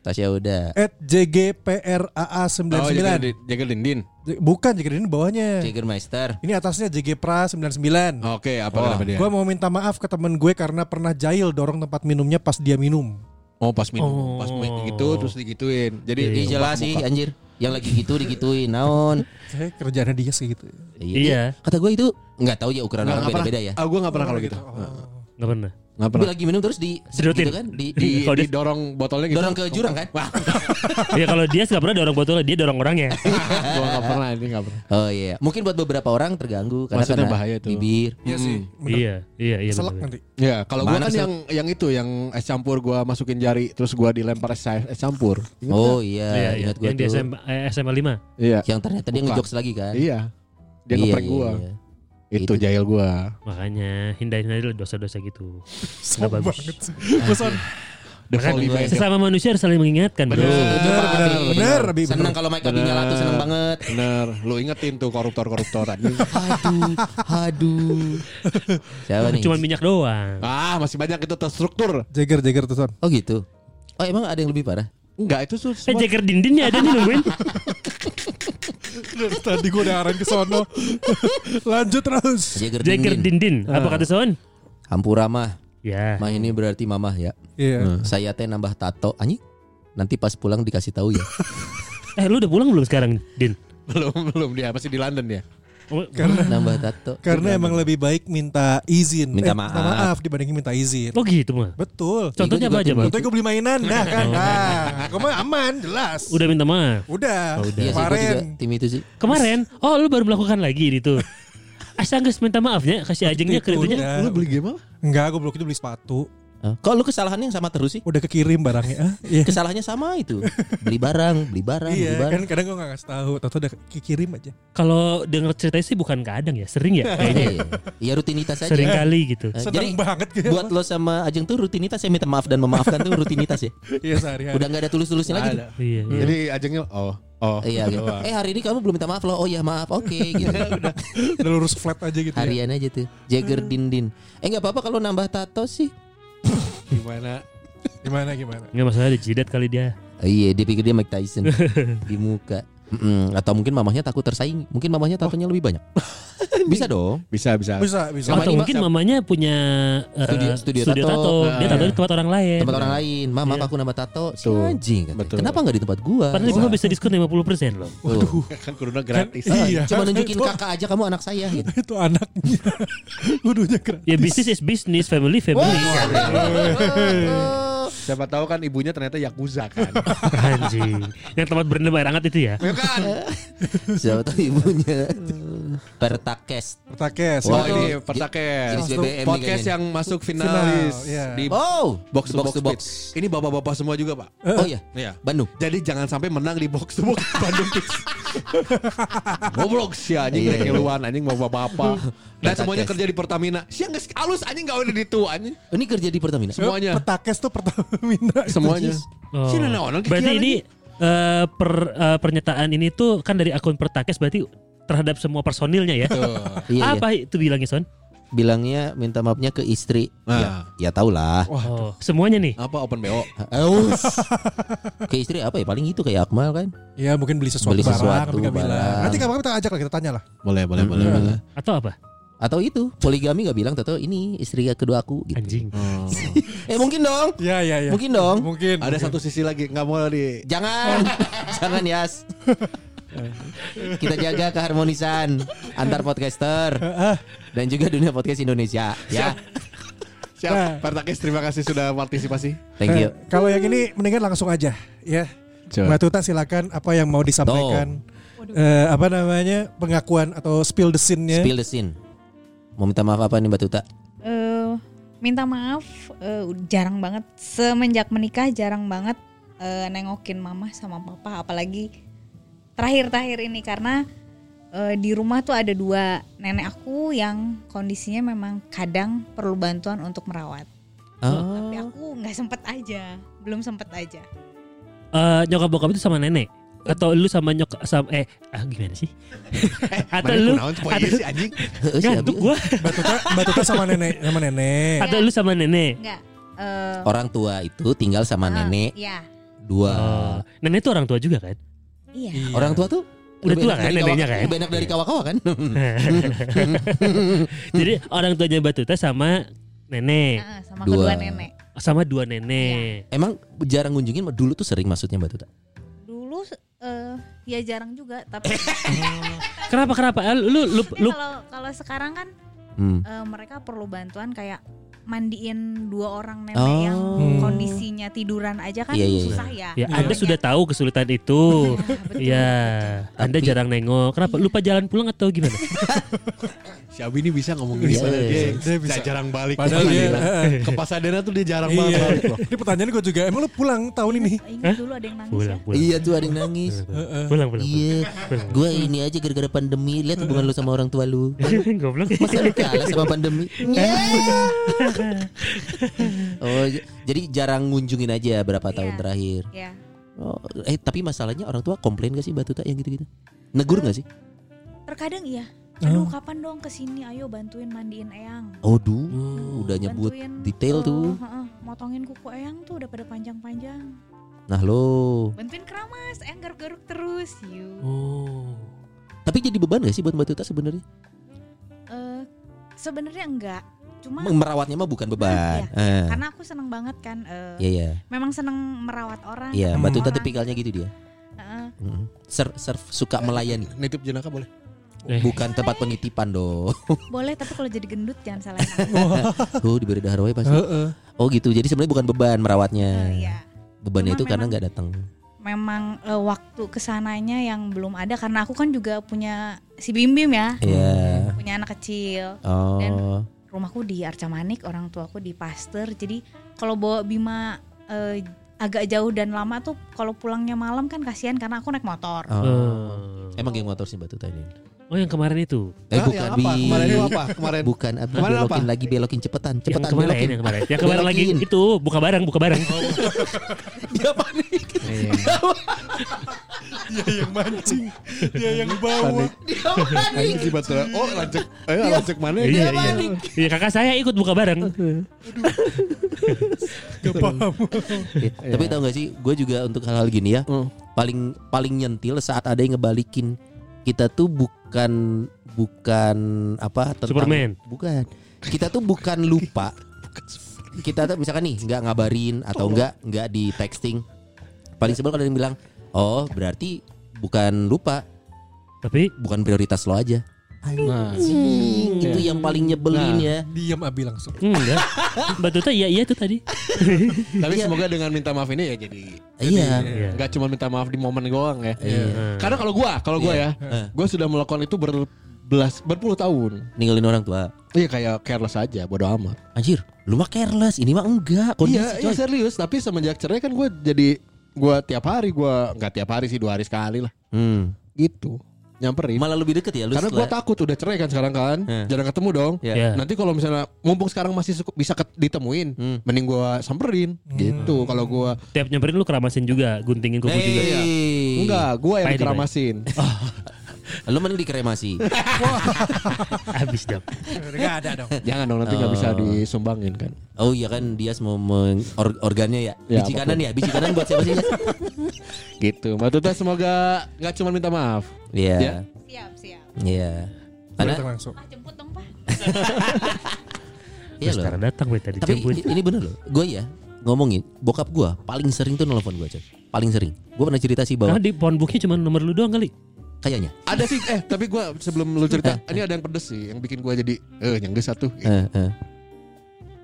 S2: Tasya ya udah.
S1: At JGPRAA99.
S4: Oh, jaga, di- jaga dindin.
S1: J- Bukan JGPRA ini bawahnya.
S2: Jagermeister.
S1: Ini atasnya JGPRA
S2: Oh,
S1: 99.
S4: Oke, apa
S1: Oh.
S2: Wah,
S4: kenapa dia?
S1: Gue mau minta maaf ke temen gue karena pernah jahil dorong tempat minumnya pas dia minum.
S4: Oh, pas
S3: Oh.
S4: minum, pas minum gitu terus digituin. Jadi
S1: Iya,
S2: Ih, Iya, jelas sih anjir. Yang lagi gitu digituin naon.
S1: Saya kerjaannya dia sih gitu.
S3: Iya.
S2: Kata gue itu nggak tahu ya ukuran
S4: Enggak
S2: orang
S4: pernah.
S2: beda-beda ya.
S4: Ah, gua enggak pernah kalau gitu.
S1: Oh.
S3: Nggak pernah.
S4: Enggak
S2: Tapi
S4: pernah.
S2: lagi minum terus di
S3: Sedotin.
S2: gitu kan di,
S4: Di,
S2: di
S3: Kalau dia-
S4: didorong botolnya gitu.
S2: dorong ke jurang kan?
S3: Iya kalau dia nggak pernah dorong botolnya, dia dorong orangnya.
S4: gua enggak pernah, ini enggak pernah.
S2: Oh iya, mungkin buat beberapa orang terganggu karena
S4: Maksudnya
S2: kena
S4: bahaya gitu. tuh.
S2: bibir.
S1: Iya sih. Bener.
S3: Iya, iya, iya.
S1: Selak nanti.
S3: benar-benar.
S4: Ya, kalau gua
S2: Mana
S4: kan
S2: sih?
S4: yang yang itu yang es campur gua masukin jari terus gua dilempar es, es campur.
S2: Oh iya,
S3: Iya, iya.
S2: ingat gue
S3: Yang di
S2: tuh.
S3: SMA, eh, SMA 5.
S4: Iya.
S2: Yang ternyata dia
S4: Bukan.
S2: ngejokes lagi kan?
S4: Iya. Dia
S2: Iya,
S4: ngeprank
S2: iya,
S4: gua.
S2: iya.
S4: Itu
S2: Itu.
S4: jahil gua.
S3: Makanya hindarin aja lah dosa-dosa gitu.
S1: Sok
S3: bagus.
S1: banget sih. Pesan.
S3: Makanya
S4: The
S1: gitu.
S4: Folly Man.
S3: sesama manusia harus saling mengingatkan. bro.
S2: Betul tuh, Pak
S1: bener,
S2: Abi.
S1: bener, Abi,
S2: Seneng
S1: bener.
S2: kalau Mike Abi nyala tuh seneng banget.
S4: Bener, lu ingetin tuh koruptor-koruptor anjing.
S2: Aduh, aduh. Siapa nih?
S3: Cuman minyak doang.
S4: Ah, masih banyak itu terstruktur.
S1: Jager, Jager tuh son.
S2: Oh gitu. Oh emang ada yang lebih parah?
S4: Enggak, itu tuh
S3: Eh
S4: semua-
S3: Jager dindinnya ada nih nungguin.
S1: Dari Tadi gue udah arahin ke sono. Lanjut terus.
S2: Jager
S3: Jager
S2: dingin.
S3: dindin. Apa kata Son?
S2: Hampura mah.
S3: Ya.
S2: Mah ini berarti mamah ya.
S3: Hmm.
S1: Iya.
S2: Saya teh nambah tato anjing. Nanti pas pulang dikasih tahu ya.
S3: Eh lu udah pulang belum sekarang, Din?
S4: belum belum dia masih di London ya.
S3: Oh,
S2: nambah tato.
S3: Iya,
S1: Karena emang lebih baik minta izin.
S2: Minta
S1: Eh,
S2: maaf.
S1: dibandingin minta izin.
S3: oh gitu mah.
S1: Betul.
S3: Contohnya apa aja, Bang?
S1: Contohnya gue beli mainan dah kan. Nah, aku mah aman jelas.
S3: Udah Oh, minta maaf.
S1: Udah.
S2: Iya sih gua juga
S1: Kemarin
S2: tim itu sih.
S3: Kemarin, oh lu baru melakukan lagi itu. Asa nggak minta maafnya, kasih
S2: Iya,
S3: ajengnya
S2: Gitu,
S3: kreditnya.
S2: ya.
S1: Udah.
S4: game apa?
S1: Iya, Enggak, gue belum itu beli sepatu.
S2: Hah? Kok lu kesalahannya yang sama terus sih?
S1: Udah kekirim barangnya. ah. Iya.
S2: Kesalahannya sama itu. Beli barang, beli barang,
S1: Iya,
S2: beli barang.
S1: kan kadang gue gak ngasih tahu, tahu udah kirim aja.
S3: Kalau denger ceritanya sih bukan kadang ya, sering
S1: kan.
S3: ya kayaknya.
S2: Iya, Iya rutinitas aja.
S3: sering kali gitu.
S2: Eh,
S1: Seneng banget gitu.
S2: Buat lo sama Ajeng tuh rutinitas ya minta maaf dan memaafkan tuh rutinitas ya.
S1: Iya sehari-hari.
S2: Udah nggak ada tulus-tulusnya lagi. tuh.
S3: Iya. iya.
S4: Jadi ajengnya oh, oh.
S2: Iya. gitu. Eh hari ini kamu belum minta maaf lo. Oh ya maaf. Oke gitu.
S1: Udah lurus flat aja gitu. ya.
S2: Harian aja tuh. Jagger dindin. Eh nggak apa-apa kalau nambah tato sih.
S4: Gimana?
S1: Gimana gimana?
S3: Nggak masalah ada jidat kali dia.
S2: Oh, iya dia pikir dia Mike Tyson di muka. Mm-mm. Atau mungkin mamahnya takut tersaing. Mungkin mamahnya tatonya lebih banyak. Bisa dong.
S4: Bisa bisa.
S1: Bisa, bisa.
S2: Sama
S3: Atau
S2: ini, Pak,
S3: mungkin
S2: siapa?
S3: mamanya punya eh,
S2: Studio- studio tato. Nah, iya.
S3: Dia tato di tempat orang lain.
S2: Tempat orang lain. Mam, maaf aku nambah tato. Si
S4: Betul.
S2: anjing. katanya.
S4: Betul.
S2: Kenapa nggak di tempat gua?
S3: Padahal gua bisa diskon 50% loh.
S2: Waduh.
S4: kan kuruna gratis.
S1: Kan- iya.
S2: Cuma nunjukin
S1: Itu-
S2: kakak aja kamu anak saya. Gitu.
S1: Itu anaknya. Kudunya keren.
S3: Ya bisnis is bisnis, family family.
S2: Oh.
S4: Siapa tahu kan ibunya ternyata yakuza kan.
S3: Anjing. Yang tempat berendam air hangat itu ya?
S2: Siapa tahu ibunya Pertakes
S1: Pertakes.
S4: Oh
S2: Waduh.
S4: ini pertakes.
S2: Jenis BBM nih
S4: Podcast
S2: kayaknya.
S4: yang masuk finalis
S1: Final, iya.
S4: di
S2: Oh
S4: box to box,
S2: to
S4: Pit. Ini bapak-bapak semua juga pak.
S2: Oh iya
S4: Iya.
S2: Bandung
S4: Jadi jangan sampai menang di box to box Bandung Pit. Goblok sih anjing
S2: Iya,
S4: yeah,
S2: iya. Uhuh.
S4: keluan anjing bapak-bapak. Dan
S2: Pertakes.
S4: semuanya kerja di Pertamina. Siang guys halus anjing gak udah ditu anjing.
S2: Ini kerja di Pertamina
S4: Semuanya.
S1: Pertakes tuh Pertamina.
S4: Semuanya.
S3: Oh.
S4: Sini ada orang
S3: Berarti
S4: kekian
S3: ini eh, per, eh, pernyataan ini tuh kan dari akun Pertakes berarti terhadap semua personilnya ya.
S2: Iya, iya.
S3: Apa itu bilangnya Son?
S2: Bilangnya minta maafnya ke istri
S4: Nah.
S2: Ya, ya tau lah
S3: Oh, semuanya nih.
S4: Apa open BO?
S2: Aus. ke istri apa ya paling itu kayak Akmal kan
S1: Ya mungkin beli sesuatu
S2: Beli
S1: barang,
S2: sesuatu
S1: tapi nggak bilang.
S2: barang.
S1: Nanti kapan kita ajak lah kita tanya lah.
S4: Boleh, boleh, boleh. boleh.
S3: Atau apa?
S2: atau itu poligami nggak bilang tahu ini istri kedua aku gitu.
S3: Anjing.
S2: eh mungkin dong
S1: Iya iya
S4: Ya.
S1: iya.
S2: Mungkin dong.
S1: Mungkin.
S4: Ada satu sisi lagi nggak mau di
S2: jangan jangan Yas kita jaga keharmonisan antar podcaster
S4: Ah.
S2: dan juga dunia podcast Indonesia ya
S1: Nah.
S4: Siap, Pertakes terima kasih sudah partisipasi.
S2: thank you
S1: Eh, kalau yang ini mendingan langsung aja ya. Mbak Tuta silakan apa yang mau disampaikan. Eh, apa namanya pengakuan atau spill the scene-nya.
S2: spill the scene mau minta maaf apa nih Mbak Tuta
S5: Eh, minta maaf eh, jarang banget semenjak menikah jarang banget eh, nengokin mama sama papa apalagi terakhir-terakhir ini karena eh, di rumah tuh ada dua nenek aku yang kondisinya memang kadang perlu bantuan untuk merawat
S2: oh.
S5: tapi aku nggak sempet aja belum sempet aja
S3: Eh, nyokap bokap itu sama nenek atau lu sama nyok sama eh ah, gimana sih? atau
S4: Mana
S3: Eh, lu
S4: kunaon supaya
S3: atau,
S4: si anjing.
S2: Oh, ya?
S3: ngantuk gua.
S1: Mbak Tuta, Mbak Tuta sama nenek sama nenek.
S3: Atau lu sama nenek.
S5: nggak eh,
S2: orang tua itu tinggal sama
S5: ah,
S2: nenek
S5: ya
S2: dua
S3: Oh, nenek itu orang tua juga kan?
S5: iya
S1: Iya.
S2: orang tua tuh
S3: Udah
S2: lebih
S3: tua
S2: enak
S3: kan
S2: dari
S3: neneknya
S2: kawa-
S3: kan?
S2: lebih enak dari kawa-kawa kan
S3: Jadi orang tuanya Batuta sama nenek,
S5: ah, sama
S2: Dua.
S5: kedua nenek
S3: sama dua nenek.
S2: emang jarang ngunjungin dulu tuh sering maksudnya Mbak Tuta
S5: dulu eh, ya jarang juga tapi
S3: Kenapa kenapa? Eh, Lu lu lu,
S5: Tapi
S3: lu
S5: kalau kalau sekarang kan
S2: hmm.
S5: eh, mereka perlu bantuan kayak mandiin dua orang nenek
S2: Oh.
S5: yang
S1: Hmm.
S5: kondisinya tiduran aja kan
S2: Iya, iya,
S5: susah ya.
S3: ya
S5: Makanya-
S3: Anda sudah tahu kesulitan itu. Iya, Anda
S2: Tapi-
S3: jarang nengok. Kenapa? Lupa jalan pulang atau gimana?
S4: Si Abi ini bisa ngomong gini.
S2: Iya,
S4: padahal
S2: iya,
S4: dia,
S2: iya.
S4: dia bisa jarang balik. Iya.
S1: Padahal dia-
S4: ke Pasadena tuh dia jarang banget
S1: Iya.
S4: balik loh.
S1: Ini pertanyaan gue juga. Emang lu pulang tahun ini?
S5: Eh, Ingat dulu ada yang nangis
S3: Pulang
S5: ya.
S3: pulang.
S2: iya tuh ada yang nangis
S3: Pulang pulang.
S2: Iya, gue ini aja gara-gara pandemi. Lihat hubungan lu sama orang tua lu.
S3: pulang. Goblok.
S2: Masa lu kalah sama pandemi? Iya. oh, j- jadi jarang ngunjungin aja berapa tahun
S5: Iya.
S2: terakhir.
S5: Ya.
S2: Oh, eh tapi masalahnya orang tua komplain gak sih Mbak Tuta yang gitu-gitu? Negur gak sih?
S5: Terkadang iya.
S3: Oh.
S5: Aduh kapan dong kesini ayo bantuin mandiin Eyang.
S2: Aduh, udah nyebut
S5: Bantuin,
S2: detail
S5: eh,
S2: tuh.
S5: heeh, motongin kuku Eyang tuh udah pada panjang-panjang.
S2: Nah lo,
S5: Bantuin keramas, Eyang garuk-garuk terus. Yuk.
S3: Oh.
S2: tapi jadi beban gak sih buat Mbak Tuta sebenarnya?
S5: Eh, Sebenarnya enggak. Cuma
S2: Merawatnya mah bukan beban. Eh,
S5: karena aku seneng banget kan. eh,
S2: Iya iya,
S5: memang seneng merawat orang.
S2: iya.
S3: Hmm.
S2: Mbak
S5: ketemu
S2: Tuta
S5: orang.
S2: tipikalnya gitu dia.
S5: Heeh.
S2: Mm. Ser- ser- suka melayani.
S4: Nitip jenaka boleh.
S2: Bukan tempat penitipan dong.
S5: boleh tapi kalau jadi gendut jangan salah. aku.
S2: Oh diberi darah pasti.
S1: Heeh.
S2: Oh gitu. Jadi sebenarnya bukan beban merawatnya.
S5: Iya.
S2: Bebannya
S5: Cuma
S2: itu karena
S5: memang-
S2: nggak datang.
S5: Memang eh, waktu kesananya yang belum ada karena aku kan juga punya si Bim Bim ya,
S2: Iya.
S5: punya anak kecil.
S2: Oh.
S5: Rumahku di Arca Manik, orang tuaku di Pasteur. Jadi kalau bawa Bima eh, agak jauh dan lama tuh kalau pulangnya malam kan kasihan karena aku naik motor.
S2: Oh.
S3: Oh.
S2: Emang geng motor sih Mbak Tuta ini.
S3: Oh yang kemarin itu.
S2: Eh
S4: Hah,
S2: bukan
S4: yang
S2: bi.
S4: apa? Kemarin itu apa? Kemarin.
S2: Bukan abi
S4: Kemarin
S2: belokin
S4: apa?
S2: lagi belokin cepetan Oh,
S3: Yang
S2: cepetan
S3: kemarin, ya,
S2: belokin.
S3: yang kemarin. Yang kemarin lagi
S2: Belokin.
S3: itu buka barang, buka barang.
S2: Dia panik.
S1: Dia yang mancing, dia yang bawa.
S4: Panik. Anjing si Batra. Oh, lanjut. Eh, lanjut mana?
S3: Iya, iya. Iya, kakak saya ikut buka barang.
S1: Gak paham.
S2: Iya. Tapi tau gak sih, gue juga untuk hal-hal gini ya, paling paling nyentil saat ada yang ngebalikin kita tuh bukan bukan apa tentang
S3: Superman.
S2: bukan kita tuh bukan lupa kita tuh misalkan nih nggak ngabarin atau nggak nggak di texting paling sebel kalau ada yang bilang oh berarti bukan lupa
S3: Tapi
S2: bukan prioritas lo aja Anjing, itu yang paling nyebelin ya.
S1: Diam Abi langsung.
S3: Hmm, enggak. Mbak Tuta iya iya tuh tadi.
S4: Tapi semoga dengan minta maaf ini ya jadi
S2: Iya.
S3: Iya.
S4: nggak cuma minta maaf di momen doang ya.
S2: Iya.
S4: Karena kalau gua, kalau gua ya, gua sudah melakukan itu berbelas berpuluh tahun.
S2: Ninggalin orang tua.
S4: Iya kayak careless aja, bodo amat.
S2: Anjir, lu mah careless, ini mah enggak. Kondisi
S4: Iya, iya
S2: coy.
S4: serius. Tapi semenjak cerai kan gua jadi gua tiap hari gua nggak tiap hari sih dua hari sekali lah.
S2: Hmm.
S4: Gitu nyamperin.
S2: Malah lebih deket ya lu
S4: Karena gue
S2: setelah- Iya.
S4: takut udah cerai kan sekarang kan,
S2: Heh.
S4: jarang ketemu dong.
S2: Ya.
S3: Ya.
S4: Nanti kalau misalnya mumpung sekarang masih suku- bisa ket- ditemuin,
S2: Hmm.
S4: mending gue samperin gitu. Kalau gue
S3: Tiap nyamperin lu keramasin juga, guntingin kuku
S2: Eh,
S3: juga.
S2: iya. Hey.
S4: Iya. enggak, gue yang
S3: Baik,
S4: dikeramasin.
S2: Lu mending dikremasi.
S3: Habis dong.
S1: Enggak ada dong.
S4: Jangan dong nanti nggak bisa disumbangin kan.
S2: Oh iya kan dia mau meng- or- organnya ya.
S4: Ya,
S2: Biji
S4: apapun.
S2: kanan ya, biji kanan buat siapa sih? Jas?
S4: Gitu. Mbak Tuta semoga nggak cuma minta maaf.
S2: Iya.
S4: Ya.
S5: Siap, siap.
S2: Iya. Karena
S1: Datang langsung.
S5: Ah, jemput dong, Pak.
S2: iya
S3: Terus
S2: loh.
S3: sekarang datang gue tadi
S2: Tapi
S3: jemput.
S2: i- ini bener loh. Gue ya ngomongin bokap gue paling sering tuh nelfon gue coy. Paling sering. Gue pernah cerita sih bahwa
S3: Karena di phonebooknya cuma nomor lu doang kali.
S2: kayaknya.
S4: Ada sih, eh tapi gue sebelum lu cerita, ini ada yang pedes sih, yang bikin gue jadi eh nyengges satu.
S2: Eh, eh.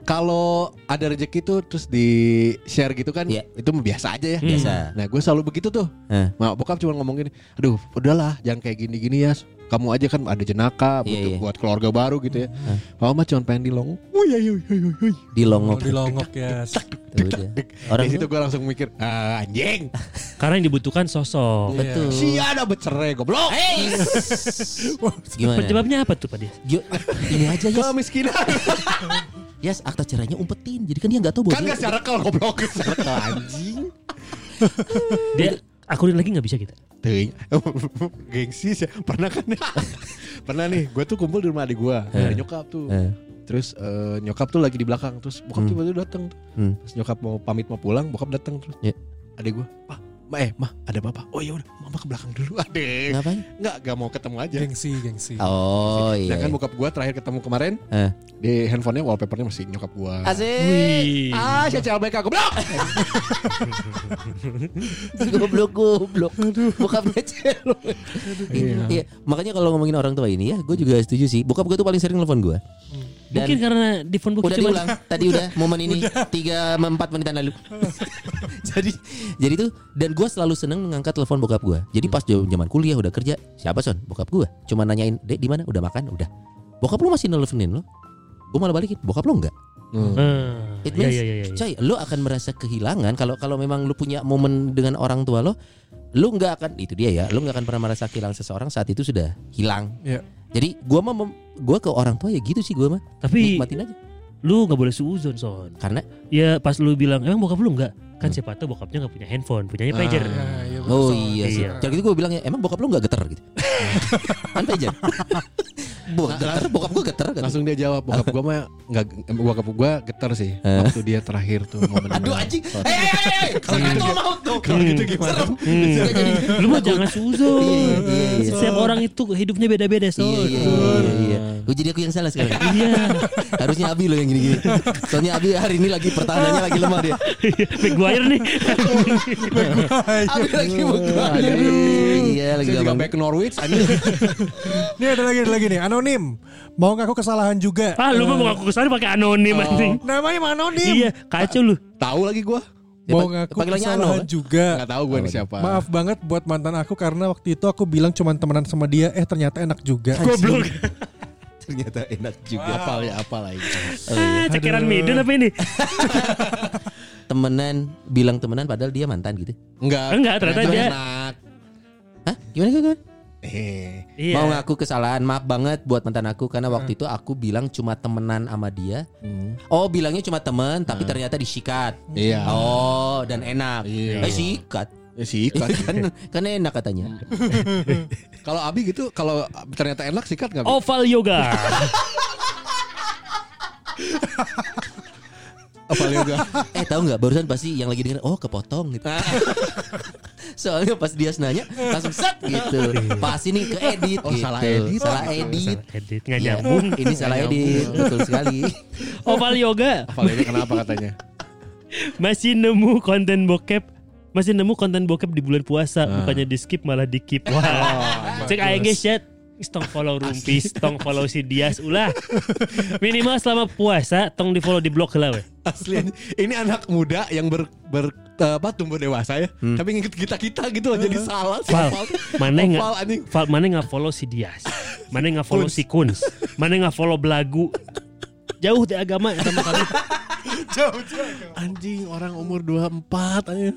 S4: Kalau ada rezeki tuh terus di share gitu kan,
S2: Iya.
S4: itu mah biasa aja ya.
S2: Biasa.
S4: Nah gue selalu begitu tuh.
S2: Eh.
S4: Mak bokap cuma ngomongin, aduh udahlah jangan kayak gini-gini ya. Kamu aja kan ada
S2: Iya,
S4: jenaka butuh
S2: iya. Eh.
S4: buat keluarga baru gitu ya. Papa mah cuma pengen dilong. iya, Wih, ayo, ayo,
S2: Di
S4: ayo. Oh,
S2: Iya. longok.
S1: Di longok ya.
S2: Tuh dia. Orang
S4: Di situ gue langsung mikir, ah, anjing.
S3: Karena yang dibutuhkan
S2: Oh,
S3: sosok.
S2: betul.
S4: Si ada bercerai goblok.
S2: Gimana?
S3: Penyebabnya apa tuh Pak Dias?
S2: Yo, ini aja Yas.
S4: Kemiskinan.
S2: Yas akta cerainya umpetin. Jadi kan dia nggak tahu bahwa
S4: kan
S2: dia-
S4: gak secara kalau goblok. anjing.
S3: Dia akuin lagi nggak bisa kita.
S4: Teuing. Gengsi sih. Pernah kan Pernah nih, gue tuh kumpul di rumah adik gue. Ada nyokap tuh.
S2: Eh.
S4: Terus eh, nyokap tuh lagi di belakang. Terus bokap tiba-tiba datang.
S2: Hmm.
S4: Pas nyokap mau pamit mau pulang, bokap datang terus.
S2: Ya.
S4: Adik gue, "Pak, Ma, eh, mah ada bapak. Oh ya udah, mama ke belakang dulu. Adik,
S2: Ngapain?
S4: nggak nggak mau ketemu aja.
S1: Gengsi, gengsi.
S2: Oh iya.
S4: Nah kan bokap gue terakhir ketemu kemarin
S2: Eh.
S4: di handphonenya wallpapernya masih nyokap gue.
S2: Asik.
S3: Wih.
S4: Ah, siapa LBK goblok.
S2: goblok goblok. Bokapnya celok. Iya. Iya. Makanya kalau ngomongin orang tua ini ya, gue juga setuju sih. Bokap gue tuh paling sering telepon gue. Dan
S3: Mungkin karena di phonebook
S2: udah
S3: cuma
S2: diulang. Tadi udah momen ini tiga empat menitan lalu. jadi jadi tuh dan gue selalu seneng mengangkat telepon bokap gue. Jadi pas zaman kuliah udah kerja siapa son bokap gue. Cuma nanyain dek di mana udah makan udah. Bokap lu masih nelfonin lo? Gue malah balikin. Bokap lu enggak.
S3: Ah,
S2: It
S3: iya,
S2: means,
S3: iya, iya, iya.
S2: coy, lu akan merasa kehilangan kalau kalau memang lu punya momen dengan orang tua lo, lu nggak akan itu dia ya, lu nggak akan pernah merasa kehilangan seseorang saat itu sudah hilang.
S1: Iya.
S2: Jadi gua mah mem- gua ke orang tua ya gitu sih gua mah.
S3: Tapi
S2: Nikmatin aja.
S3: lu nggak boleh suuzon son.
S2: Karena
S3: Ya pas lu bilang emang bokap lu nggak
S2: Hmm.
S3: kan siapa tahu bokapnya nggak punya handphone, punyanya
S2: Ah,
S3: pager.
S1: Nah, iya, betul,
S2: oh
S1: Son.
S2: iya sih.
S3: Iya.
S2: Kalau gitu gua bilang ya, emang bokap lu nggak geter gitu. kan aja. Bo, geter, bokap gua geter kan.
S4: Langsung dia jawab, bokap gue mah nggak, em, bokap gue getar sih waktu dia terakhir tuh momen.
S2: Aduh anjing. Eh, eh, eh, eh. Kalau gitu mau tuh.
S4: Kalau gitu gimana?
S3: Hmm. Lu mah jangan suuzon.
S2: Iya, iya, iya.
S3: Setiap orang itu hidupnya beda-beda son.
S2: Iya, iya, iya, iya, iya. Oh, jadi aku yang salah sekarang.
S3: Iya.
S2: Harusnya Abi loh yang gini-gini. Soalnya Abi hari ini lagi pertahanannya lagi lemah dia.
S3: Maguire nih.
S2: Abi lagi bukan. Iya
S4: Saya
S2: lagi
S4: juga
S2: abang.
S4: back Norwich anjing.
S1: Ini ada lagi ada lagi nih anonim. Mau ngaku kesalahan juga. Eh,
S3: ah lu mah mau ngaku kesana pakai anonim
S2: Oh.
S3: anjing.
S1: Namanya mah anonim.
S3: Iya, kacau lu.
S4: Tahu lagi gue?
S1: Mau
S2: Ya,
S1: ngaku
S2: panggilannya Ano,
S1: kesalahan
S2: kan?
S1: juga.
S4: Nggak tahu gue nih siapa.
S1: Maaf banget buat mantan aku karena waktu itu aku bilang cuman temenan sama dia, eh ternyata enak juga.
S3: Goblok.
S2: Ternyata enak juga.
S4: Apal ya apal lagi.
S3: Ah, Cekiran midun apa ini?
S2: Temenan bilang temenan padahal dia mantan gitu.
S4: Enggak.
S3: Enggak, ternyata dia-
S4: enak.
S2: Hah? Gimana gimana?
S4: Eh.
S3: Iya.
S2: Mau ngaku kesalahan, maaf banget buat mantan aku karena waktu itu aku bilang cuma temenan sama dia. Oh, bilangnya cuma temen tapi ternyata disikat.
S4: Iya.
S2: Oh, dan enak.
S4: Iya.
S2: Eh, sikat.
S4: Ya sih kan.
S2: kan, kan enak katanya.
S4: kalau Abi gitu kalau ternyata enak sikat enggak?
S3: Oval yoga.
S4: apa yoga.
S2: Eh tahu nggak barusan pasti yang lagi denger oh kepotong gitu. Soalnya pas dia nanya langsung set gitu. Pas ini ke edit
S4: Oh,
S2: gitu.
S4: salah edit.
S2: Salah edit.
S3: Edit Gitu. nggak
S2: Iya,
S3: nyambung.
S2: ini salah edit betul sekali.
S3: Oval yoga
S4: Apa yoga kenapa katanya?
S3: masih nemu konten bokep masih nemu konten bokep di bulan puasa bukannya di skip malah di keep wah cek aing guys chat Tong follow Rumpis, tong follow si Dias ulah. Minimal selama puasa tong di follow di blog lah we.
S4: Asli ini- ini anak muda yang ber, ber apa tumbuh dewasa ya. Tapi ngikut kita kita gitu loh jadi salah.
S3: Val, Hmm.
S2: Oh,
S3: mana nggak?
S4: Val, anjing.
S3: Val, mana nggak follow si Dias? Mana nggak follow si Kuns? Mana nggak follow Belagu? Jauh dari agama sama kami.
S4: Anjing orang umur 24 anjing.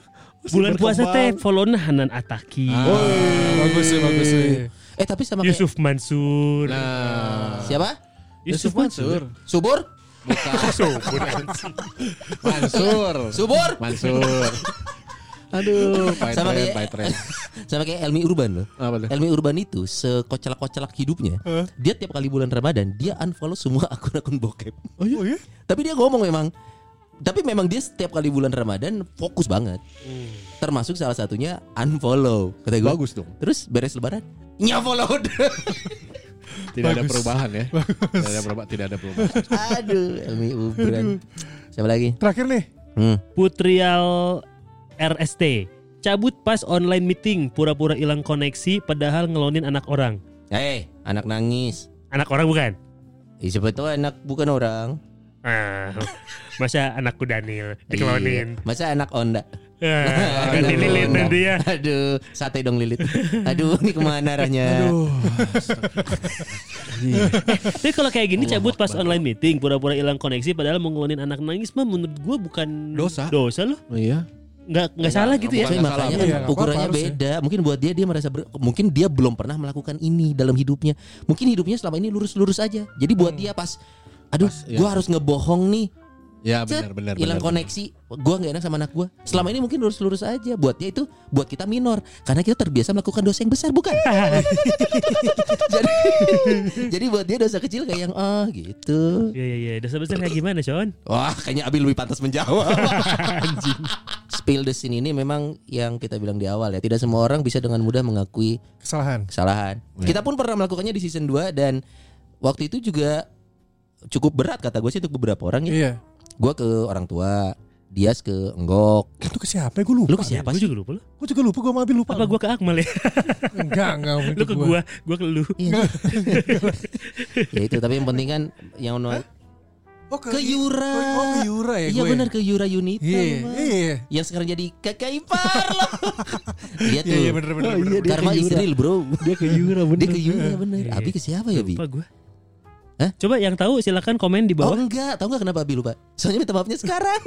S4: Masih
S3: Bulan puasa teh
S4: berkembang.
S3: follow nah Hanan Ataki,
S6: bagus sih, bagus sih.
S2: Eh tapi sama kayak
S3: Yusuf Mansur,
S4: Nah,
S2: siapa?
S3: Yusuf Mansur.
S2: Subur?
S4: Mansur.
S2: Subur?
S4: Mansur. Aduh, pahit
S2: Sama
S4: tren,
S2: kayak-
S4: pahit tren.
S2: Sama kayak Elmi Urban loh.
S4: Apa tuh?
S2: Elmi Urban itu sekocelak-kocelak hidupnya. Dia tiap kali bulan Ramadan dia unfollow semua akun-akun bokep.
S4: Oh iya.
S2: Tapi dia ngomong memang tapi memang dia setiap kali bulan Ramadan fokus banget.
S3: Hmm.
S2: Termasuk salah satunya unfollow. Kata gua,
S4: Bagus dong.
S2: Terus beres lebaran nyafollowed.
S4: Tidak ada perubahan ya. Tidak ada perubahan, tidak ada perubahan.
S2: Aduh, Elmi Urban. Siapa lagi?
S1: Terakhir nih.
S2: Hmm.
S3: Putrial RST. Cabut pas online meeting, pura-pura hilang koneksi padahal ngelonin anak orang.
S2: Eh, anak nangis.
S3: Anak orang bukan?
S2: Eh, siapa tahu anak bukan orang.
S3: Ah, masa anakku Daniel
S2: Iya.
S3: dikelonin.
S2: Masa anak onda.
S3: Ah, Ganti lilin nanti ya.
S2: Aduh, sate dong lilit. Aduh, ini kemana arahnya?
S3: Tapi kalau kayak gini cabut pas online meeting, pura-pura hilang koneksi padahal mau ngelonin anak nangis mah menurut gua bukan
S4: Dosa.
S3: Dosa loh.
S4: Iya.
S3: Nggak nggak salah gitu ya.
S2: Cuy,
S4: Bukan
S2: makanya
S1: salah.
S2: kan
S1: Iya, nggak
S2: ukurannya
S1: apa-apa harusnya.
S2: beda. Mungkin buat dia dia merasa ber- mungkin dia belum pernah melakukan ini dalam hidupnya. Mungkin hidupnya selama ini lurus-lurus aja. Jadi buat dia pas aduh,
S4: Pas, iya.
S2: gua harus ngebohong nih.
S4: Ya
S2: Cet,
S4: benar benar.
S2: hilang
S4: benar.
S2: koneksi. Gua nggak enak sama anak gua. Selama ini mungkin lurus-lurus aja. Buat dia itu buat kita minor karena kita terbiasa melakukan dosa yang besar, bukan? jadi jadi buat dia dosa kecil kayak yang oh gitu.
S3: Iya iya iya. Dosa besar kayak gimana, Sean?
S2: Wah, kayaknya Abi lebih pantas menjawab. Anjing. Spill the scene ini memang yang kita bilang di awal ya. Tidak semua orang bisa dengan mudah mengakui
S1: Kesalahan.
S2: kesalahan.
S4: Iya.
S2: Kita pun pernah melakukannya di season 2 dan waktu itu juga cukup berat kata gue sih untuk beberapa orang ya.
S1: Iya.
S2: Gue ke orang tua, Dias ke Enggok.
S1: Itu ke siapa? ya? Gue
S2: Lu
S1: lupa.
S2: ke siapa
S3: Gue
S2: sih?
S3: juga lupa loh.
S1: Gue juga lupa. Gue mampir lupa.
S3: Apa gua ke Akmal ya?
S1: Enggak, enggak. waktu
S3: Lu ke
S1: gua.
S3: gua, gua ke lu.
S2: Ya itu tapi yang penting kan yang
S1: Oh, ke,
S2: ke Yura.
S1: Oh, ke Yura ya
S2: Iya
S1: gue.
S2: benar ke Yura Yunita.
S1: Iya.
S2: Mas.
S1: Iya.
S2: Yang sekarang jadi kakak ipar loh. Iya tuh.
S1: Iya, iya bener bener.
S4: Oh,
S1: bener,
S4: iya,
S1: bener.
S4: dia
S2: Karma
S4: ke Yura.
S2: Israel bro.
S4: Dia ke Yura bener.
S2: Dia ke Yura bener.
S3: Iya.
S2: Abi ke siapa ya Bi?
S3: Lupa gua.
S2: Hah?
S3: Coba yang tahu silakan komen di
S2: Oh
S3: bawah.
S2: enggak, tahu enggak kenapa Abi lupa? Soalnya minta maafnya sekarang.